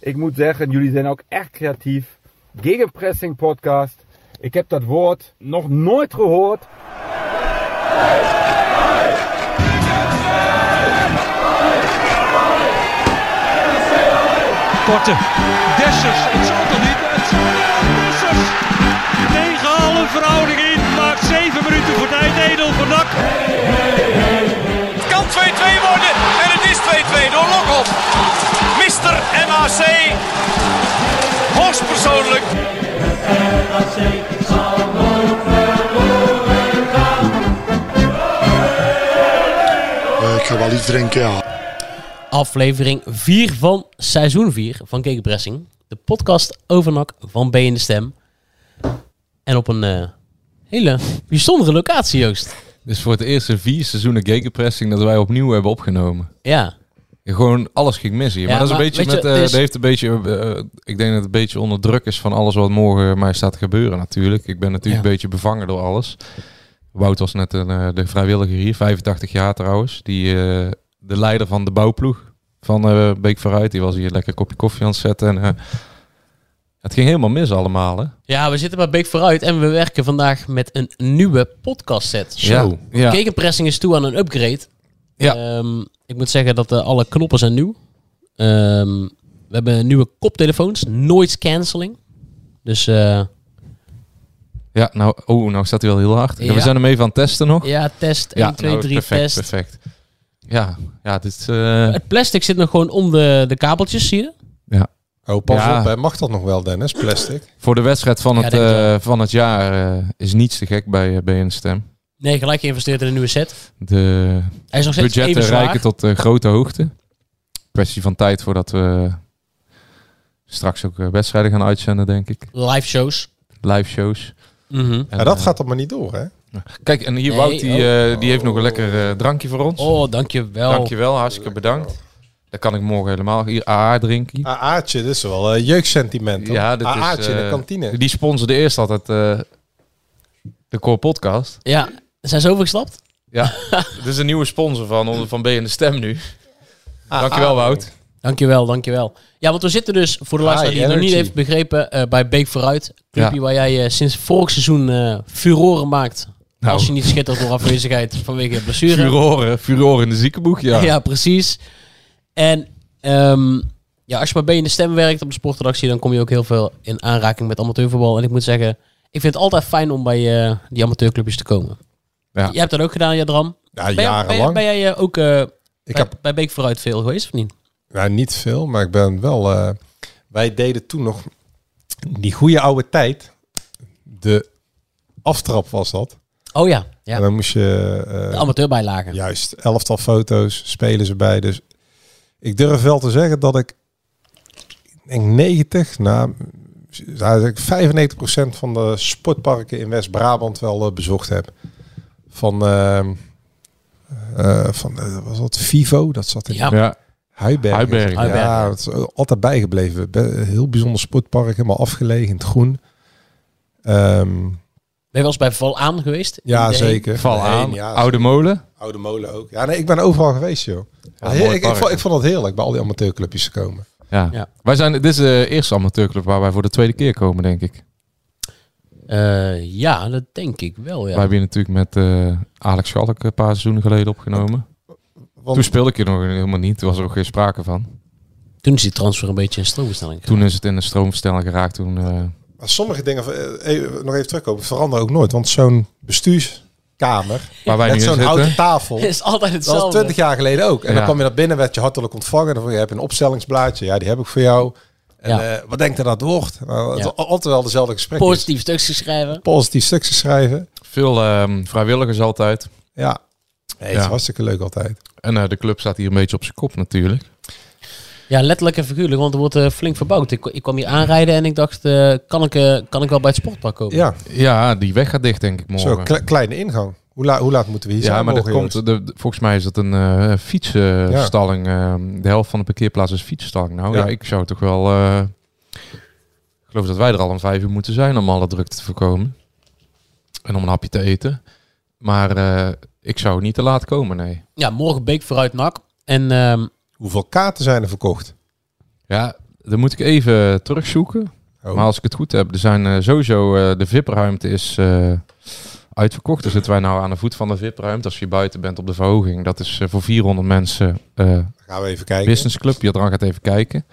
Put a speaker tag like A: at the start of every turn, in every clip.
A: ik moet zeggen, jullie zijn ook echt creatief. Gegenpressing podcast. Ik heb dat woord nog nooit gehoord.
B: Korte. Dessers. Het zal toch niet? Het zal wel. Dessers. Tegen alle verhouding in. Maakt 7 minuten voor tijd. Edel van Dak.
C: Het kan 2-2 worden. En het is 2-2 door Lokop. Mister MAC. Hoogst persoonlijk.
D: Eh, ik ga wel iets drinken, ja.
E: aflevering 4 van seizoen 4 van Gegenpressing. De podcast over NAC van B in de Stem. En op een eh, hele bijzondere locatie, Joost.
F: Dit is Dus voor het eerste vier seizoenen gegenpressing dat wij opnieuw hebben opgenomen.
E: Ja,
F: Gewoon alles ging mis hier.
E: Ja,
F: maar dat is
E: maar
F: een beetje
E: weet je,
F: met, eh,
E: het is-
F: dat heeft een beetje, eh, eh, ik denk dat het een beetje onder druk is van alles wat morgen mij staat te gebeuren natuurlijk. Ik ben natuurlijk
E: Ja.
F: een beetje bevangen door alles. Wout was net een, eh, de vrijwilliger hier, 85 jaar trouwens. Die, eh, de leider van de bouwploeg van eh, Beek vooruit. Die was hier lekker een kopje koffie aan het zetten. En, eh, het ging helemaal mis allemaal hè.
E: ja we zitten bij Beek vooruit en we werken vandaag met een nieuwe podcast set.
F: Ja. ja.
E: Gegenpressing is toe aan een upgrade.
F: Ja.
E: Ehm, ik moet zeggen dat eh, alle knoppen zijn nieuw. Ehm, we hebben nieuwe koptelefoons, noise cancelling. Dus eh,
F: Ja, nou, oh, nou staat hij wel heel hard. Ja,
E: Ja.
F: we zijn ermee van het testen nog.
E: ja, test, 1, 2,
F: nou,
E: 3,
F: perfect,
E: test.
F: Perfect. Ja, ja, dit is. eh,
E: Het plastic zit nog gewoon om de, de kabeltjes, zie je?
F: ja.
G: Oh, pas
F: Ja.
G: op, hè. mag dat nog wel, Dennis? Plastic.
F: Voor de wedstrijd van
E: Ja,
F: het,
E: denk ik
F: eh,
E: wel.
F: van het jaar eh, is niets te gek bij eh, BN Stem.
E: Nee, gelijk geïnvesteerd in een nieuwe set.
F: De
E: Hij is nog steeds
F: budgetten
E: even zwaar.
F: rijken tot eh, grote hoogte. Kwestie van tijd voordat we straks ook eh, wedstrijden gaan uitzenden, denk ik.
E: Live shows.
F: Live shows. En,
G: Ja, dat
F: eh,
G: gaat dan maar niet door, hè?
F: Kijk, en hier
E: Nee,
F: Wout, die, eh, die heeft nog een lekker eh, drankje voor ons.
E: Oh, dankjewel.
F: Dankjewel, hartstikke bedankt. Dan kan ik morgen helemaal hier AA
G: Ah,
F: drinken.
G: AA'tje, dit is wel eh jeugdsentiment. hoor.
F: Ja, dit is,
G: AA'tje in de
F: eh,
G: kantine.
F: Die sponsorde eerst altijd eh, de Core Podcast.
E: Ja, zijn ze overgestapt?
F: Ja, dit is een nieuwe sponsor van, van B en de Stem nu.
E: Ah,
F: Dankjewel Wout.
E: Dankjewel, dankjewel. Ja, want we zitten dus, voor de luisteraar die het nog niet
G: energy.
E: heeft begrepen, eh, bij Beek Vooruit. Clubje
F: Ja.
E: waar jij eh, sinds vorig seizoen eh furoren maakt.
F: Nou.
E: Als je niet schittert door afwezigheid vanwege blessure.
F: Furoren, furoren in de ziekenboeg, ja.
E: Ja, precies. En ehm, ja, als je maar bij in de stem werkt op de sportredactie, dan kom je ook heel veel in aanraking met amateurvoetbal. En ik moet zeggen, ik vind het altijd fijn om bij eh, die amateurclubjes te komen.
F: Ja.
E: Jij hebt dat ook gedaan, Jadram.
G: Ja,
E: Ben jij-
G: jarenlang.
E: Ben, jij- ben jij eh, ook eh,
G: ik
E: bij,
G: heb
E: bij Beek vooruit veel geweest of niet?
G: nou, niet veel, maar ik ben wel... eh, wij deden toen nog die goede oude tijd. De aftrap was dat.
E: Oh ja, ja.
G: En dan moest je... eh,
E: de amateurbijlagen.
G: juist, elftal foto's, spelen ze bij. Dus ik durf wel te zeggen dat ik... Ik denk 90, nou... zou ik 95% van de sportparken in West-Brabant wel eh, bezocht heb. Van, ehm, eh, van eh, was dat Vivo? Dat zat in
E: Ja.
F: Ja,
G: Huiberg.
F: Huiberg.
E: Huiberg.
G: Ja, dat is eh, altijd bijgebleven. Be- heel bijzonder sportpark, helemaal afgelegen in het groen. Ehm,
E: Ben je wel eens bij Val aan geweest? In
G: ja,
E: de-
G: zeker.
F: val
G: Heen,
F: aan.
G: ja,
F: Oude molen.
G: Oude molen ook. Ja, nee, ik ben overal geweest, joh.
F: Ja,
G: Heer-
F: mooi
G: ik, ik,
F: park.
G: vond, ik vond het heerlijk bij al die amateurclubjes te komen.
F: Ja.
E: Ja.
F: Wij zijn, dit is de eerste amateurclub waar wij voor de tweede keer komen, denk ik.
E: Eh, ja, dat denk ik wel,
F: Wij
E: ja.
F: hebben hier natuurlijk met eh, Alex Schalk een paar seizoenen geleden opgenomen.
G: Want
F: Toen speelde ik hier nog helemaal niet. Toen was er ook geen sprake van.
E: Toen is die transfer een beetje in stroombestelling.
F: Toen is het in de stroomversnelling geraakt. Toen, eh,
G: maar sommige dingen, eh, even- nog even terugkomen, veranderen ook nooit. Want zo'n bestuurskamer,
F: waar wij nu
G: met
F: in
G: zo'n
F: zitten.
G: houten tafel,
E: Het is altijd
G: dat was
E: hetzelfde.
G: twintig jaar geleden ook. En
F: Ja.
G: dan kwam je naar binnen, werd je hartelijk ontvangen. Dan vroeg je, heb je een opstellingsblaadje? Ja, die heb ik voor jou. En
E: Ja.
G: eh, wat denkt er dat het wordt? Nou, het
E: Ja.
G: al- altijd wel dezelfde gesprekken.
E: Positief stuks geschreven.
G: Positief stukjes schrijven.
F: Veel ehm, vrijwilligers altijd.
G: Ja. Nee, het
F: Ja.
G: is hartstikke leuk altijd.
F: En eh, de club staat hier een beetje op zijn kop natuurlijk.
E: Ja, letterlijk en figuurlijk, want er wordt eh, flink verbouwd. Ik, ik kwam hier aanrijden en ik dacht, eh, kan, ik, eh, kan ik wel bij het sportpark komen?
G: Ja,
F: Ja, die weg gaat dicht denk ik morgen.
G: zo kle- kleine ingang. Hoe, la- hoe laat moeten we hier zijn?
F: ja, maar dat
G: morgen,
F: komt,
G: jongens?
F: de, de- volgens mij is dat een eh fietsenstalling. ehm, de helft van de parkeerplaats is fietsstalling. Nou ja,
G: Ja.
F: ik zou toch wel... eh, ik geloof dat wij er al om vijf uur moeten zijn om alle drukte te voorkomen. En om een hapje te eten. Maar eh, ik zou niet te laat komen, nee.
E: Ja, morgen Beek vooruit NAC. En ehm,
G: Hoeveel kaarten zijn er verkocht?
F: Ja, Dan moet ik even terugzoeken.
G: Oh.
F: Maar als ik het goed heb, er zijn eh, sowieso eh, de VIP-ruimte is eh, uitverkocht. Dan zitten wij nou aan de voet van de VIP-ruimte. Als je buiten bent op de verhoging, dat is eh, voor 400 mensen eh
G: Gaan we even kijken.
F: business club. Jadran gaat even kijken.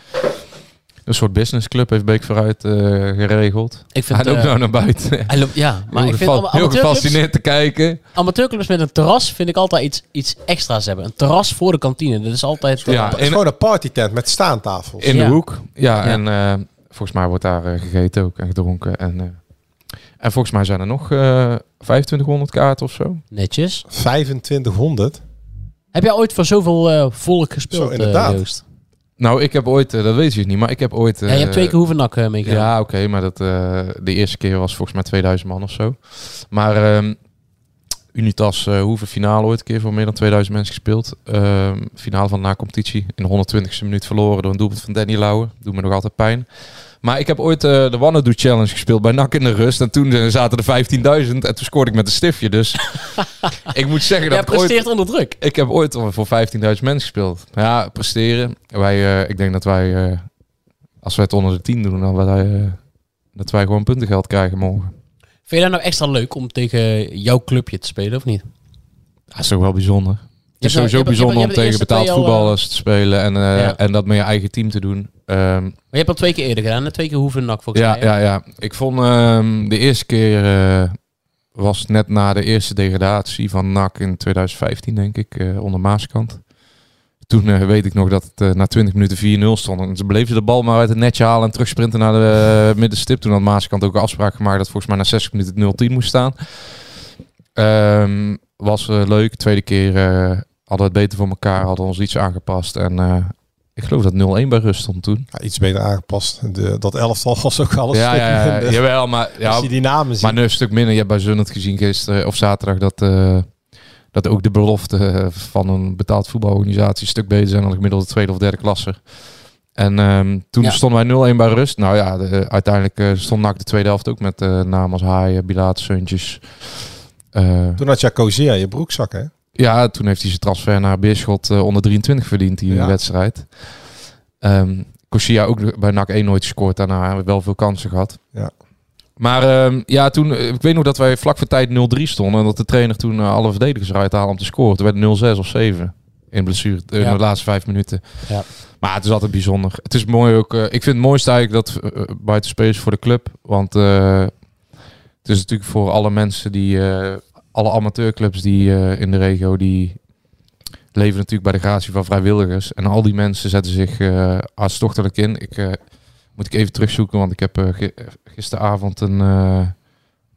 F: Een soort business club heeft Beek vooruit eh, geregeld.
E: Ik vind
F: Hij loopt
E: eh,
F: nou naar buiten.
E: hij loopt- ja, maar
F: heel
E: ik vind
F: gefa-
E: allemaal
F: heel
E: amateurclubs,
F: gefascineerd te kijken.
E: amateurclubs met een terras vind ik altijd iets, iets extra's hebben. Een terras voor de kantine. Dat is altijd... eh,
F: Ja,
G: Het is
F: in,
G: gewoon een partytent met staantafels.
F: in
E: Ja.
F: de hoek.
E: Ja.
F: Ja, en eh, volgens mij wordt daar eh, gegeten ook en gedronken. En, eh, en volgens mij zijn er nog eh 2500 kaarten of zo.
E: Netjes.
G: 2500.
E: Heb jij ooit voor zoveel eh, volk gespeeld,
G: Zo, inderdaad.
E: eh, Joost?
F: Nou, ik heb ooit, eh, dat weet je niet, maar ik heb ooit...
E: ja, je hebt
F: eh,
E: twee keer Hoevenak eh meegedaan.
F: Ja, oké, maar dat, eh, de eerste keer was volgens mij 2000 man of zo. Maar ehm, Unitas eh hoeve finale ooit een keer voor meer dan 2000 mensen gespeeld. Ehm, finale van de na-competitie in de 120ste minuut verloren door een doelpunt van Danny Lauwe. Doet me nog altijd pijn. Maar ik heb ooit eh, de Wanadu Challenge gespeeld bij NAC in de rust. En toen eh, zaten er 15.000 en toen scoorde ik met een stiftje. Dus ik moet zeggen dat
E: Jij
F: ik ooit...
E: presteert onder druk.
F: Ik heb ooit al voor 15.000 mensen gespeeld. Ja, presteren. Wij, eh, ik denk dat wij, eh, als wij het onder de 10 doen, dan wij, eh, dat wij gewoon puntengeld krijgen morgen.
E: Vind je dat nou extra leuk om tegen jouw clubje te spelen, of niet?
F: Dat is toch wel bijzonder. Het is
E: hebt nou- je
F: sowieso
E: hebt-
F: bijzonder
E: je
F: om
E: hebt de
F: tegen
E: eerste
F: betaald
E: twee al, eh,
F: voetballers te spelen en, eh,
E: Ja.
F: en dat met je eigen team te doen. Ehm,
E: Maar je hebt al twee keer eerder gedaan. hè? Twee keer Hoevenak, volgens
F: ja,
E: mij. hè?
F: ja, ja. Ik vond ehm, de eerste keer eh, was net na de eerste degradatie van NAC in 2015, denk ik, eh, onder Maaskant. Toen eh, weet ik nog dat het eh, na 20 minuten 4-0 stond. En ze bleven de bal maar uit het netje halen en terugsprinten naar de eh, middenstip. Toen had Maaskant ook een afspraak gemaakt dat volgens mij na 60 minuten 0-10 moest staan. Ehm, was eh, leuk. Tweede keer eh, hadden we het beter voor elkaar, hadden we ons iets aangepast. En eh, ik geloof dat 0-1 bij rust stond toen.
G: Ja, iets beter aangepast. De, dat elftal was ook alles.
F: Ja, ja, ja, jawel, maar... Ja,
G: Als je die namen ziet.
F: maar nu een stuk minder. Je hebt bij Zun het gezien gisteren of zaterdag dat, eh, dat ook de belofte eh, van een betaald voetbalorganisatie een stuk beter zijn dan de gemiddelde tweede of derde klasser. En ehm, toen
E: Ja.
F: stonden wij 0-1 bij rust. Nou ja, de- uiteindelijk eh, stond NAC de tweede helft ook met eh namen als Haaien, Bilaat, Suntjes. Eh,
G: Toen had Jacozia je broekzak, hè?
F: ja, toen heeft hij zijn transfer naar Beerschot eh, onder 23 verdiend, die
G: Ja.
F: wedstrijd. Ehm Corsia ook bij NAC 1 nooit gescoord daarna. Wel veel kansen gehad.
G: Ja.
F: Maar ehm, ja, toen, eh, ik weet nog dat wij vlak voor tijd 0-3 stonden. En dat de trainer toen eh, alle verdedigers eruit haalde om te scoren. Toen werd het 0-6 of 7 in, blessure, eh,
E: Ja.
F: in de laatste vijf minuten.
E: Ja.
F: Maar het is altijd bijzonder. Het is mooi ook. eh, ik vind het mooiste eigenlijk dat eh, eh, buiten space voor de club. Want eh, het is natuurlijk voor alle mensen die, eh, alle amateurclubs die eh, in de regio, die leven natuurlijk bij de gratie van vrijwilligers. En al die mensen zetten zich eh hartstochtelijk in. Ik eh, moet ik even terugzoeken, want ik heb eh, gi- eh, gisteravond een eh,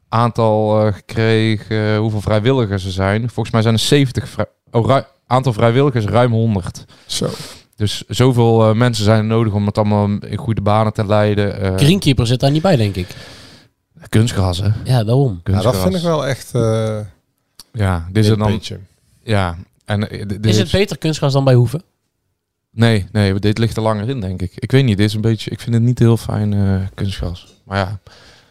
F: aantal eh, gekregen eh, hoeveel vrijwilligers er zijn. Volgens mij zijn er 70 vrij- oh, ru- aantal vrijwilligers, ruim 100.
G: Zo.
F: Dus zoveel eh, mensen zijn er nodig om het allemaal in goede banen te leiden. Eh,
E: Greenkeeper zit daar niet bij, denk ik.
F: kunstgras, hè?
E: Ja, daarom.
G: Ja, dat
F: Kunstgras.
G: vind ik wel echt... eh
F: Ja, dit is er
G: een
F: dan.
G: beetje.
F: Ja. En, eh, dit- dit
E: Is het beter kunstgras dan bij Hoeven?
F: Nee, nee, dit ligt er langer in, denk ik. Ik weet niet, dit is een beetje, ik vind het niet heel fijn eh, kunstgras. Maar ja,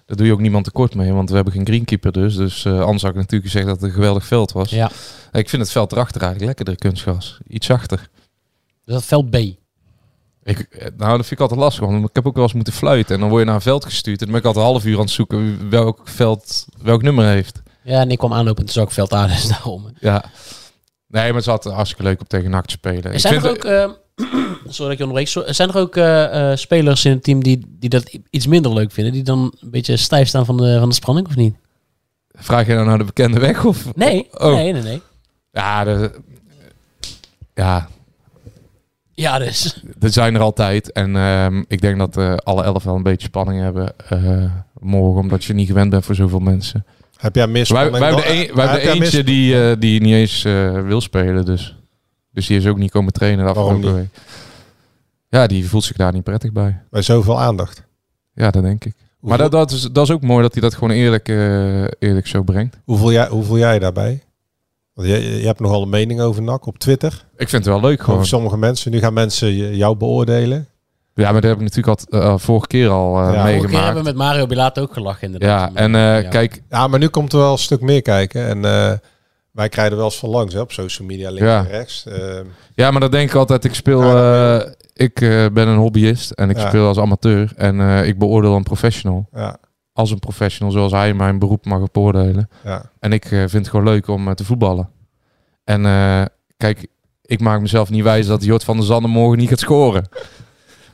F: daar doe je ook niemand tekort mee, want we hebben geen greenkeeper dus. Dus eh, anders had ik natuurlijk gezegd dat het een geweldig veld was.
E: Ja.
F: Ik vind het veld erachter eigenlijk lekkerder, kunstgras. Iets zachter.
E: Dus dat veld B.
F: Ik, eh, nou, dat vind ik altijd lastig, want ik heb ook wel eens moeten fluiten. En dan word je naar een veld gestuurd en dan ben ik altijd een half uur aan het zoeken welk veld, welk nummer heeft.
E: Ja, en ik kwam aanlopen en toen zag ik veld A, dus daarom.
F: Ja. Nee, maar het is altijd hartstikke leuk om tegen NAC te spelen. Ik
E: zijn
F: vind
E: er ook, eh, sorry dat ik je onderbreek, Zo- zijn er ook eh, eh, spelers in het team die, die dat i- iets minder leuk vinden? Die dan een beetje stijf staan van de, van de spanning of niet?
F: Vraag je nou naar de bekende weg? Of?
E: Nee,
F: Oh.
E: nee, nee, nee.
F: Ja, de, ja,
E: Ja, dus.
F: Er zijn er altijd. En ehm, ik denk dat eh, alle elf wel een beetje spanning hebben eh, morgen. Omdat je niet gewend bent voor zoveel mensen.
G: Heb jij meer
F: Wij,
G: spanning
F: wij hebben
G: dan-
F: de, een- wij
G: heb
F: hebben
G: jij meer
F: eentje die, eh, die niet eens eh, wil spelen. Dus. dus die is ook niet komen trainen de
G: Waarom
F: afgelopen week. Ja, die voelt zich daar niet prettig bij.
G: Bij zoveel aandacht.
F: Ja, dat denk ik. Maar
G: Hoeveel-
F: dat, dat, is, dat is ook mooi dat hij dat gewoon eerlijk, eh, eerlijk zo brengt.
G: Hoe voel jij, hoe voel jij daarbij? Want jij, je hebt nogal een mening over NAC op Twitter.
F: Ik vind het wel leuk gewoon.
G: Over sommige mensen. Nu gaan mensen je- jou beoordelen.
F: Ja, maar dat heb ik natuurlijk al eh, vorige keer al eh,
G: Ja.
E: Vorige keer
F: meegemaakt.
E: hebben we met Mario Bilato ook gelachen inderdaad.
F: Ja, en eh,
E: Ja.
F: kijk,
G: Ja, maar nu komt er wel een stuk meer kijken. En eh, Wij krijgen er wel eens van langs hè, op social media, links
F: Ja.
G: en rechts. Eh,
F: Ja, maar dat denk ik altijd. Ik speel.
G: Ja,
F: eh, ik eh, ben een hobbyist en ik
G: Ja.
F: speel als amateur. En eh, ik beoordeel een professional.
G: ja,
F: Als een professional, zoals hij mijn beroep mag beoordelen.
G: ja,
F: En ik eh, vind het gewoon leuk om eh, te voetballen. En eh, kijk, ik maak mezelf niet wijs dat Jort van der Zanden morgen niet gaat scoren.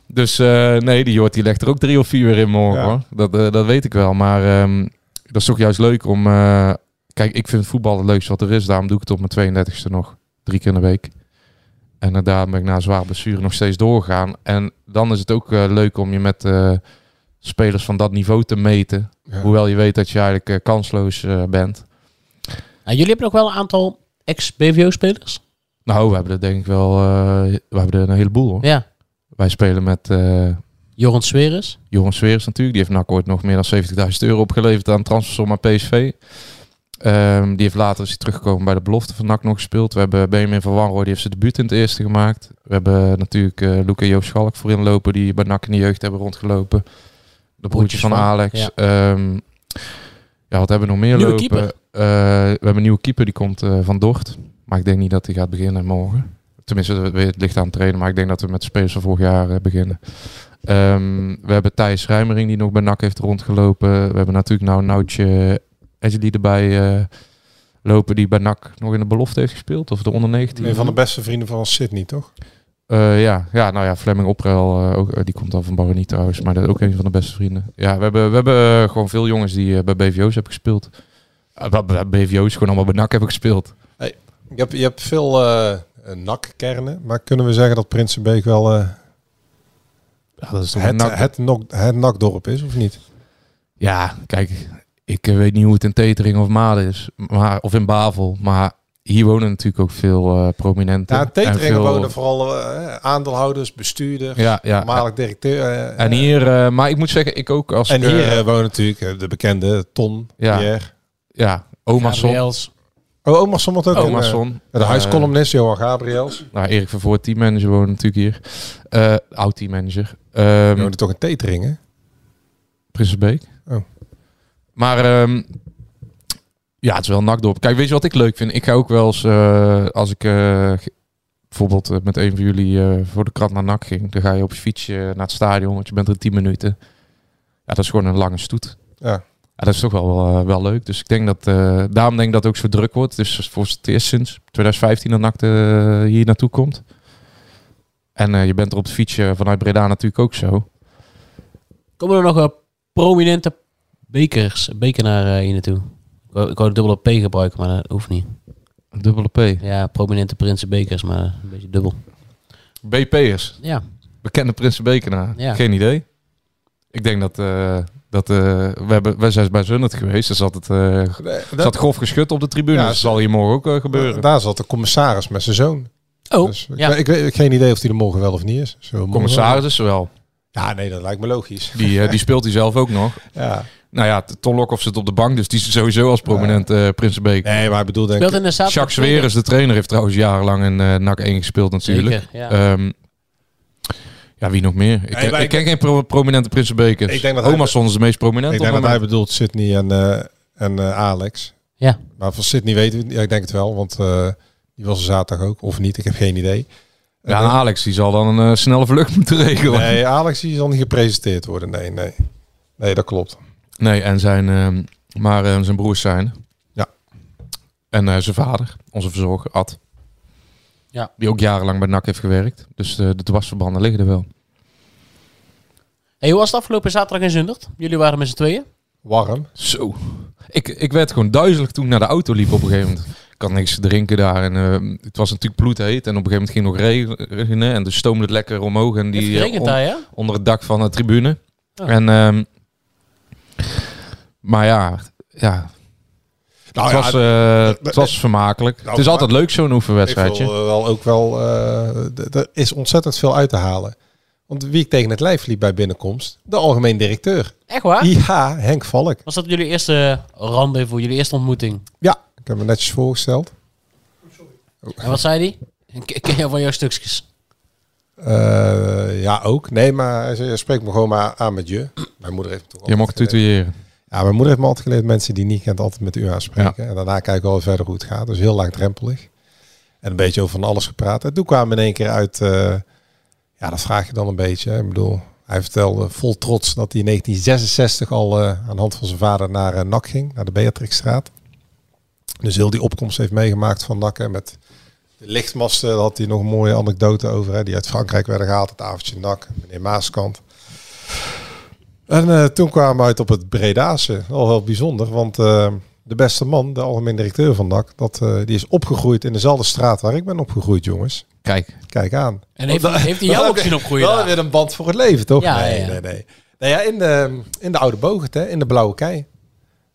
F: Dus eh, nee, die Jort die legt er ook drie of vier weer in morgen
G: Ja.
F: hoor. Dat, eh, dat weet ik wel. Maar ehm, dat is toch juist leuk om... eh, kijk, ik vind voetbal het leukste wat er is. Daarom doe ik het op mijn 32e nog. Drie keer in de week. En eh, daarom ben ik na een zwaar blessure nog steeds doorgegaan. En dan is het ook eh, leuk om je met eh, spelers van dat niveau te meten.
G: Ja.
F: Hoewel je weet dat je eigenlijk eh, kansloos eh, bent.
E: Nou, jullie hebben nog wel een aantal ex-BVO-spelers.
F: Nou, we hebben er denk ik wel eh, we hebben er een heleboel. Hoor.
E: Ja.
F: Wij spelen met eh
E: Joran Sweres.
F: Joran Sweers natuurlijk. Die heeft NAC ooit nog meer dan 70.000 euro opgeleverd aan transfersom aan PSV. Ehm, die heeft later is hij teruggekomen bij de belofte van NAC nog gespeeld. We hebben Benjamin van Wanrooy, die heeft zijn debuut in het eerste gemaakt. We hebben natuurlijk eh Luca en Joost Schalk voorin lopen, die bij NAC in de jeugd hebben rondgelopen. De broertjes van,
E: van,
F: Alex.
E: ja.
F: Ehm, ja, wat hebben we nog meer
E: Nieuwe
F: lopen?
E: keeper.
F: Eh, we hebben een nieuwe keeper, die komt eh, van Dort. Maar ik denk niet dat hij gaat beginnen morgen. Tenminste, dat- het ligt aan het trainen. Maar ik denk dat we met de spelers van vorig jaar eh, beginnen. Ehm, we hebben Thijs Rijmering, die nog bij NAC heeft rondgelopen. We hebben natuurlijk nou Noutje Edgley erbij eh, lopen, die bij NAC nog in de belofte heeft gespeeld. Of de onder 19.
G: een van de beste vrienden van Sydney, toch?
F: Eh, ja. ja, nou ja, Flemming Oprel, eh, ook, eh, die komt dan van Baronie trouwens, maar dat is ook een van de beste vrienden. Ja, we hebben, we hebben eh, gewoon veel jongens die eh, bij BVO's hebben gespeeld. Eh, Bij bij BVO's gewoon allemaal bij NAC hebben gespeeld.
G: Je hebt, je hebt veel eh nakkernen, maar kunnen we zeggen dat Prinsenbeek wel eh,
F: Ja, dat is toch
G: het,
F: NAC.
G: het, nok- het nakdorp is, of niet?
F: Ja, kijk, ik eh, weet niet hoe het in Tetering of Maden is, maar, of in Bavel, maar hier wonen natuurlijk ook veel eh prominenten.
G: Ja,
F: en
G: Teteringen
F: veel-
G: wonen vooral eh, aandeelhouders, bestuurders,
F: Ja, ja.
G: voormalig directeur. eh,
F: En hier, eh, maar ik moet zeggen, ik ook als...
G: en
F: ik,
G: hier
F: eh,
G: eh, wonen natuurlijk eh, de bekende Ton,
F: Ja.
G: Pierre.
F: ja, oma Son.
E: Gabriels.
G: Oh, oma Son wordt ook
F: Oma
G: in, eh,
F: Son.
G: De huiscolumnist Johan Gabriels.
F: Nou, Erik Vervoort, teammanager, woont natuurlijk hier. Eh, oud teammanager. Ehm
G: Die woonde toch in Teteringen?
F: Prinsenbeek.
G: Oh.
F: Maar ehm, ja, het is wel een nakdorp. Kijk, weet je wat ik leuk vind? Ik ga ook wel eens, eh, als ik eh, ge- bijvoorbeeld eh, met een van jullie eh, voor de krat naar NAC ging, dan ga je op je fietsje naar het stadion, want je bent er 10 minuten. Ja, dat is gewoon een lange stoet.
G: Ja.
F: Ja, dat is toch wel, eh, wel leuk. Dus ik denk dat, eh, daarom denk ik dat het ook zo druk wordt. Dus voor het eerst sinds 2015 dat NAC eh, hier naartoe komt. En eh, je bent er op het fietsje vanuit Breda natuurlijk ook zo.
E: Komen er nog wel prominente bekers, bekenaar eh, hier naartoe? Ik wou, ik wou de dubbele P gebruiken, maar dat hoeft niet.
F: Dubbele P.
E: Ja, prominente prinsen bekers, maar een beetje dubbel.
F: BP'ers.
E: Ja,
F: Bekende Prinsenbekenaar.
E: Ja.
F: Geen idee. Ik denk dat... eh, dat eh, we, hebben, we zijn bij Zunnert geweest. Er zat, het, eh, g- zat grof geschut op de tribune.
G: Ja,
F: dat zal hier morgen ook eh, gebeuren.
G: Daar zat de commissaris met zijn zoon.
E: Oh,
G: Dus ik,
E: ja.
G: weet- ik, weet- ik heb geen idee of die er morgen wel of niet is. Zullen we morgen
F: Commissaris is er wel.
G: wel? Ja, nee, dat lijkt me logisch.
F: Die, eh, die speelt hij zelf ook nog.
G: Ja.
F: Nou ja, Ton Lokhoff zit op de bank. Dus die is sowieso als prominent eh Prinsenbeek.
G: Nee, maar ik bedoel denk
E: speelt
G: ik...
E: in de zaterdag.
F: Jacques Sweres, de trainer, heeft trouwens jarenlang in eh NAC 1 gespeeld natuurlijk.
E: Zeker, ja.
F: Ehm, ja, wie nog meer? Ik,
G: Nee,
F: ken-
G: maar
F: ik
G: ik-
F: ken geen pro- prominente Prinsenbekers.
G: Ik denk dat hij-
F: Omerson is de meest prominente.
G: Ik
F: op
G: denk
F: het
G: dat hij
F: moment.
G: bedoelt Sydney en, eh, en eh, Alex.
E: Ja.
G: Maar van Sydney weten we het niet. Ja, ik denk het wel, want eh, die was er zaterdag ook. Of niet, ik heb geen idee.
F: Ja, en Alex die zal dan een eh, snelle vlucht moeten regelen.
G: Nee, Alex die zal niet gepresenteerd worden. Nee, nee. Nee, dat klopt.
F: Nee, en zijn, ehm, maar eh, zijn broers zijn.
G: Ja.
F: En eh, zijn vader, onze verzorger, Ad.
E: Ja.
F: Die ook jarenlang bij NAC heeft gewerkt. Dus eh, de dwarsverbanden liggen er wel.
E: Hey, hoe was het afgelopen zaterdag in Zundert? Jullie waren met z'n tweeën.
G: Warm.
F: Zo. Ik, ik werd gewoon duizelig toen ik naar de auto liep op een gegeven moment. Ik had niks te drinken daar. En, eh, het was natuurlijk bloedheet. En op een gegeven moment ging het nog regenen. En dus stoomde het lekker omhoog. En
E: Het
F: die, eh,
E: regent
F: on-
E: daar, ja?
F: onder het dak van de tribune.
E: Oh.
F: En, ehm, maar ja, ja
G: Nou,
F: het, was, eh, het was vermakelijk.
G: Nou,
F: het is altijd leuk zo'n
G: Ik wil
F: oefenwedstrijdje.
G: eh, wel ook wel. eh, d- er is ontzettend veel uit te halen. Want wie ik tegen het lijf liep bij binnenkomst, de algemeen directeur.
E: Echt waar?
G: IH Henk Valk.
E: Was dat jullie eerste rendezvous, jullie eerste ontmoeting?
G: Ja, ik heb me netjes voorgesteld.
E: En wat zei die? Ik- Ik ken jou van jouw stukjes.
G: Eh, ja, ook. Nee, maar hij zei, spreek me gewoon maar aan met je. Mijn moeder heeft me toch
F: Je
G: altijd
F: mocht
G: gezegd.
F: tutoyeren.
G: Ja, mijn moeder heeft me altijd geleerd mensen die niet kent altijd met u aanspreken. En daarna kijk ik wel verder hoe het gaat. Dus heel laagdrempelig. En een beetje over van alles gepraat. En toen kwamen we in één keer uit... eh, ja, dat vraag je dan een beetje. hè. Ik bedoel, hij vertelde vol trots dat hij in 1966 al eh, aan de hand van zijn vader naar eh, NAC ging. Naar de Beatrixstraat. Dus heel die opkomst heeft meegemaakt van NAC. hè, Met de lichtmasten daar had hij nog een mooie anekdote over. Hè, die uit Frankrijk werden gehaald. Het avondje NAC. Meneer Maaskant. En eh, toen kwamen we uit op het Bredase. Al heel bijzonder, want eh, de beste man, de algemeen directeur van NAC, dat, eh, die is opgegroeid in dezelfde straat waar ik ben opgegroeid, jongens.
F: Kijk,
G: Kijk aan.
E: En heeft, heeft hij jou ook zien opgroeien?
G: Wel
E: daar?
G: weer een band voor het leven, toch?
E: Ja,
G: nee,
E: ja, ja.
G: nee, nee. Nou ja, in de, in de Oude Bogert, hè, in de Blauwe Kei.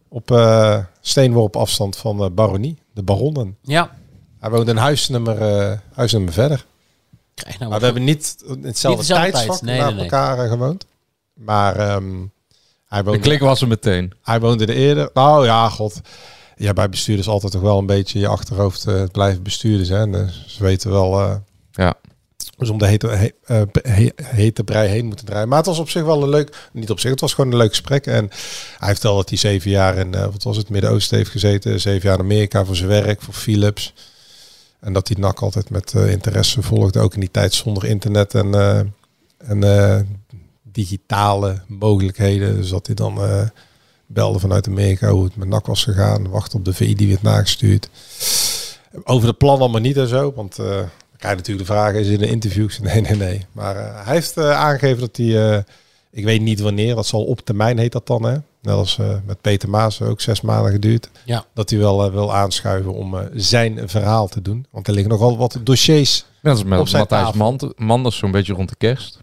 G: Op eh, steenworp afstand van eh, Baronie, de baronnen.
E: Ja.
G: Hij woont een huisnummer, eh, huisnummer verder.
E: Krijg nou
F: Ah,
G: Maar we hebben niet in hetzelfde
E: Niet dezelfde
G: tijdsvak
E: tijd, nee,
G: naar
E: nee, nee.
G: elkaar eh, gewoond. Maar ehm, hij
F: de
G: woont
F: klik was er meteen.
G: hij woonde er eerder. Nou ja, god. Ja, bij bestuurders altijd toch wel een beetje in je achterhoofd eh, het blijven bestuurders. Hè? En, eh, ze weten wel. eh,
F: Ja.
G: Dus om de hete, he, eh, he- hete brei heen moeten draaien. Maar het was op zich wel een leuk. Niet op zich, het was gewoon een leuk gesprek. En hij vertelde dat hij zeven jaar in. eh, wat was het? Midden-Oosten heeft gezeten. Zeven jaar in Amerika voor zijn werk, voor Philips. En dat hij NAC altijd met eh, interesse volgde. Ook in die tijd zonder internet en. eh, en eh, digitale mogelijkheden. Dus dat hij dan. eh, belde vanuit Amerika hoe het met NAC was gegaan. Wacht op de VI die werd nagestuurd. Over de plannen allemaal niet en zo. Want eh dan krijg je natuurlijk de vraag, is het in de interviews? Nee, nee, nee. Maar eh, hij heeft eh, aangegeven dat hij, eh, ik weet niet wanneer, dat zal op termijn heet dat dan hè. Net als eh, met Peter Maas, ook zes maanden geduurd.
E: Ja.
G: Dat hij wel eh, wil aanschuiven om eh, zijn verhaal te doen. Want er liggen nogal wat dossiers
F: Net als met
G: Op zijn
F: Matthijs
G: tafel.
F: Mand- Manders zo'n beetje rond de kerst.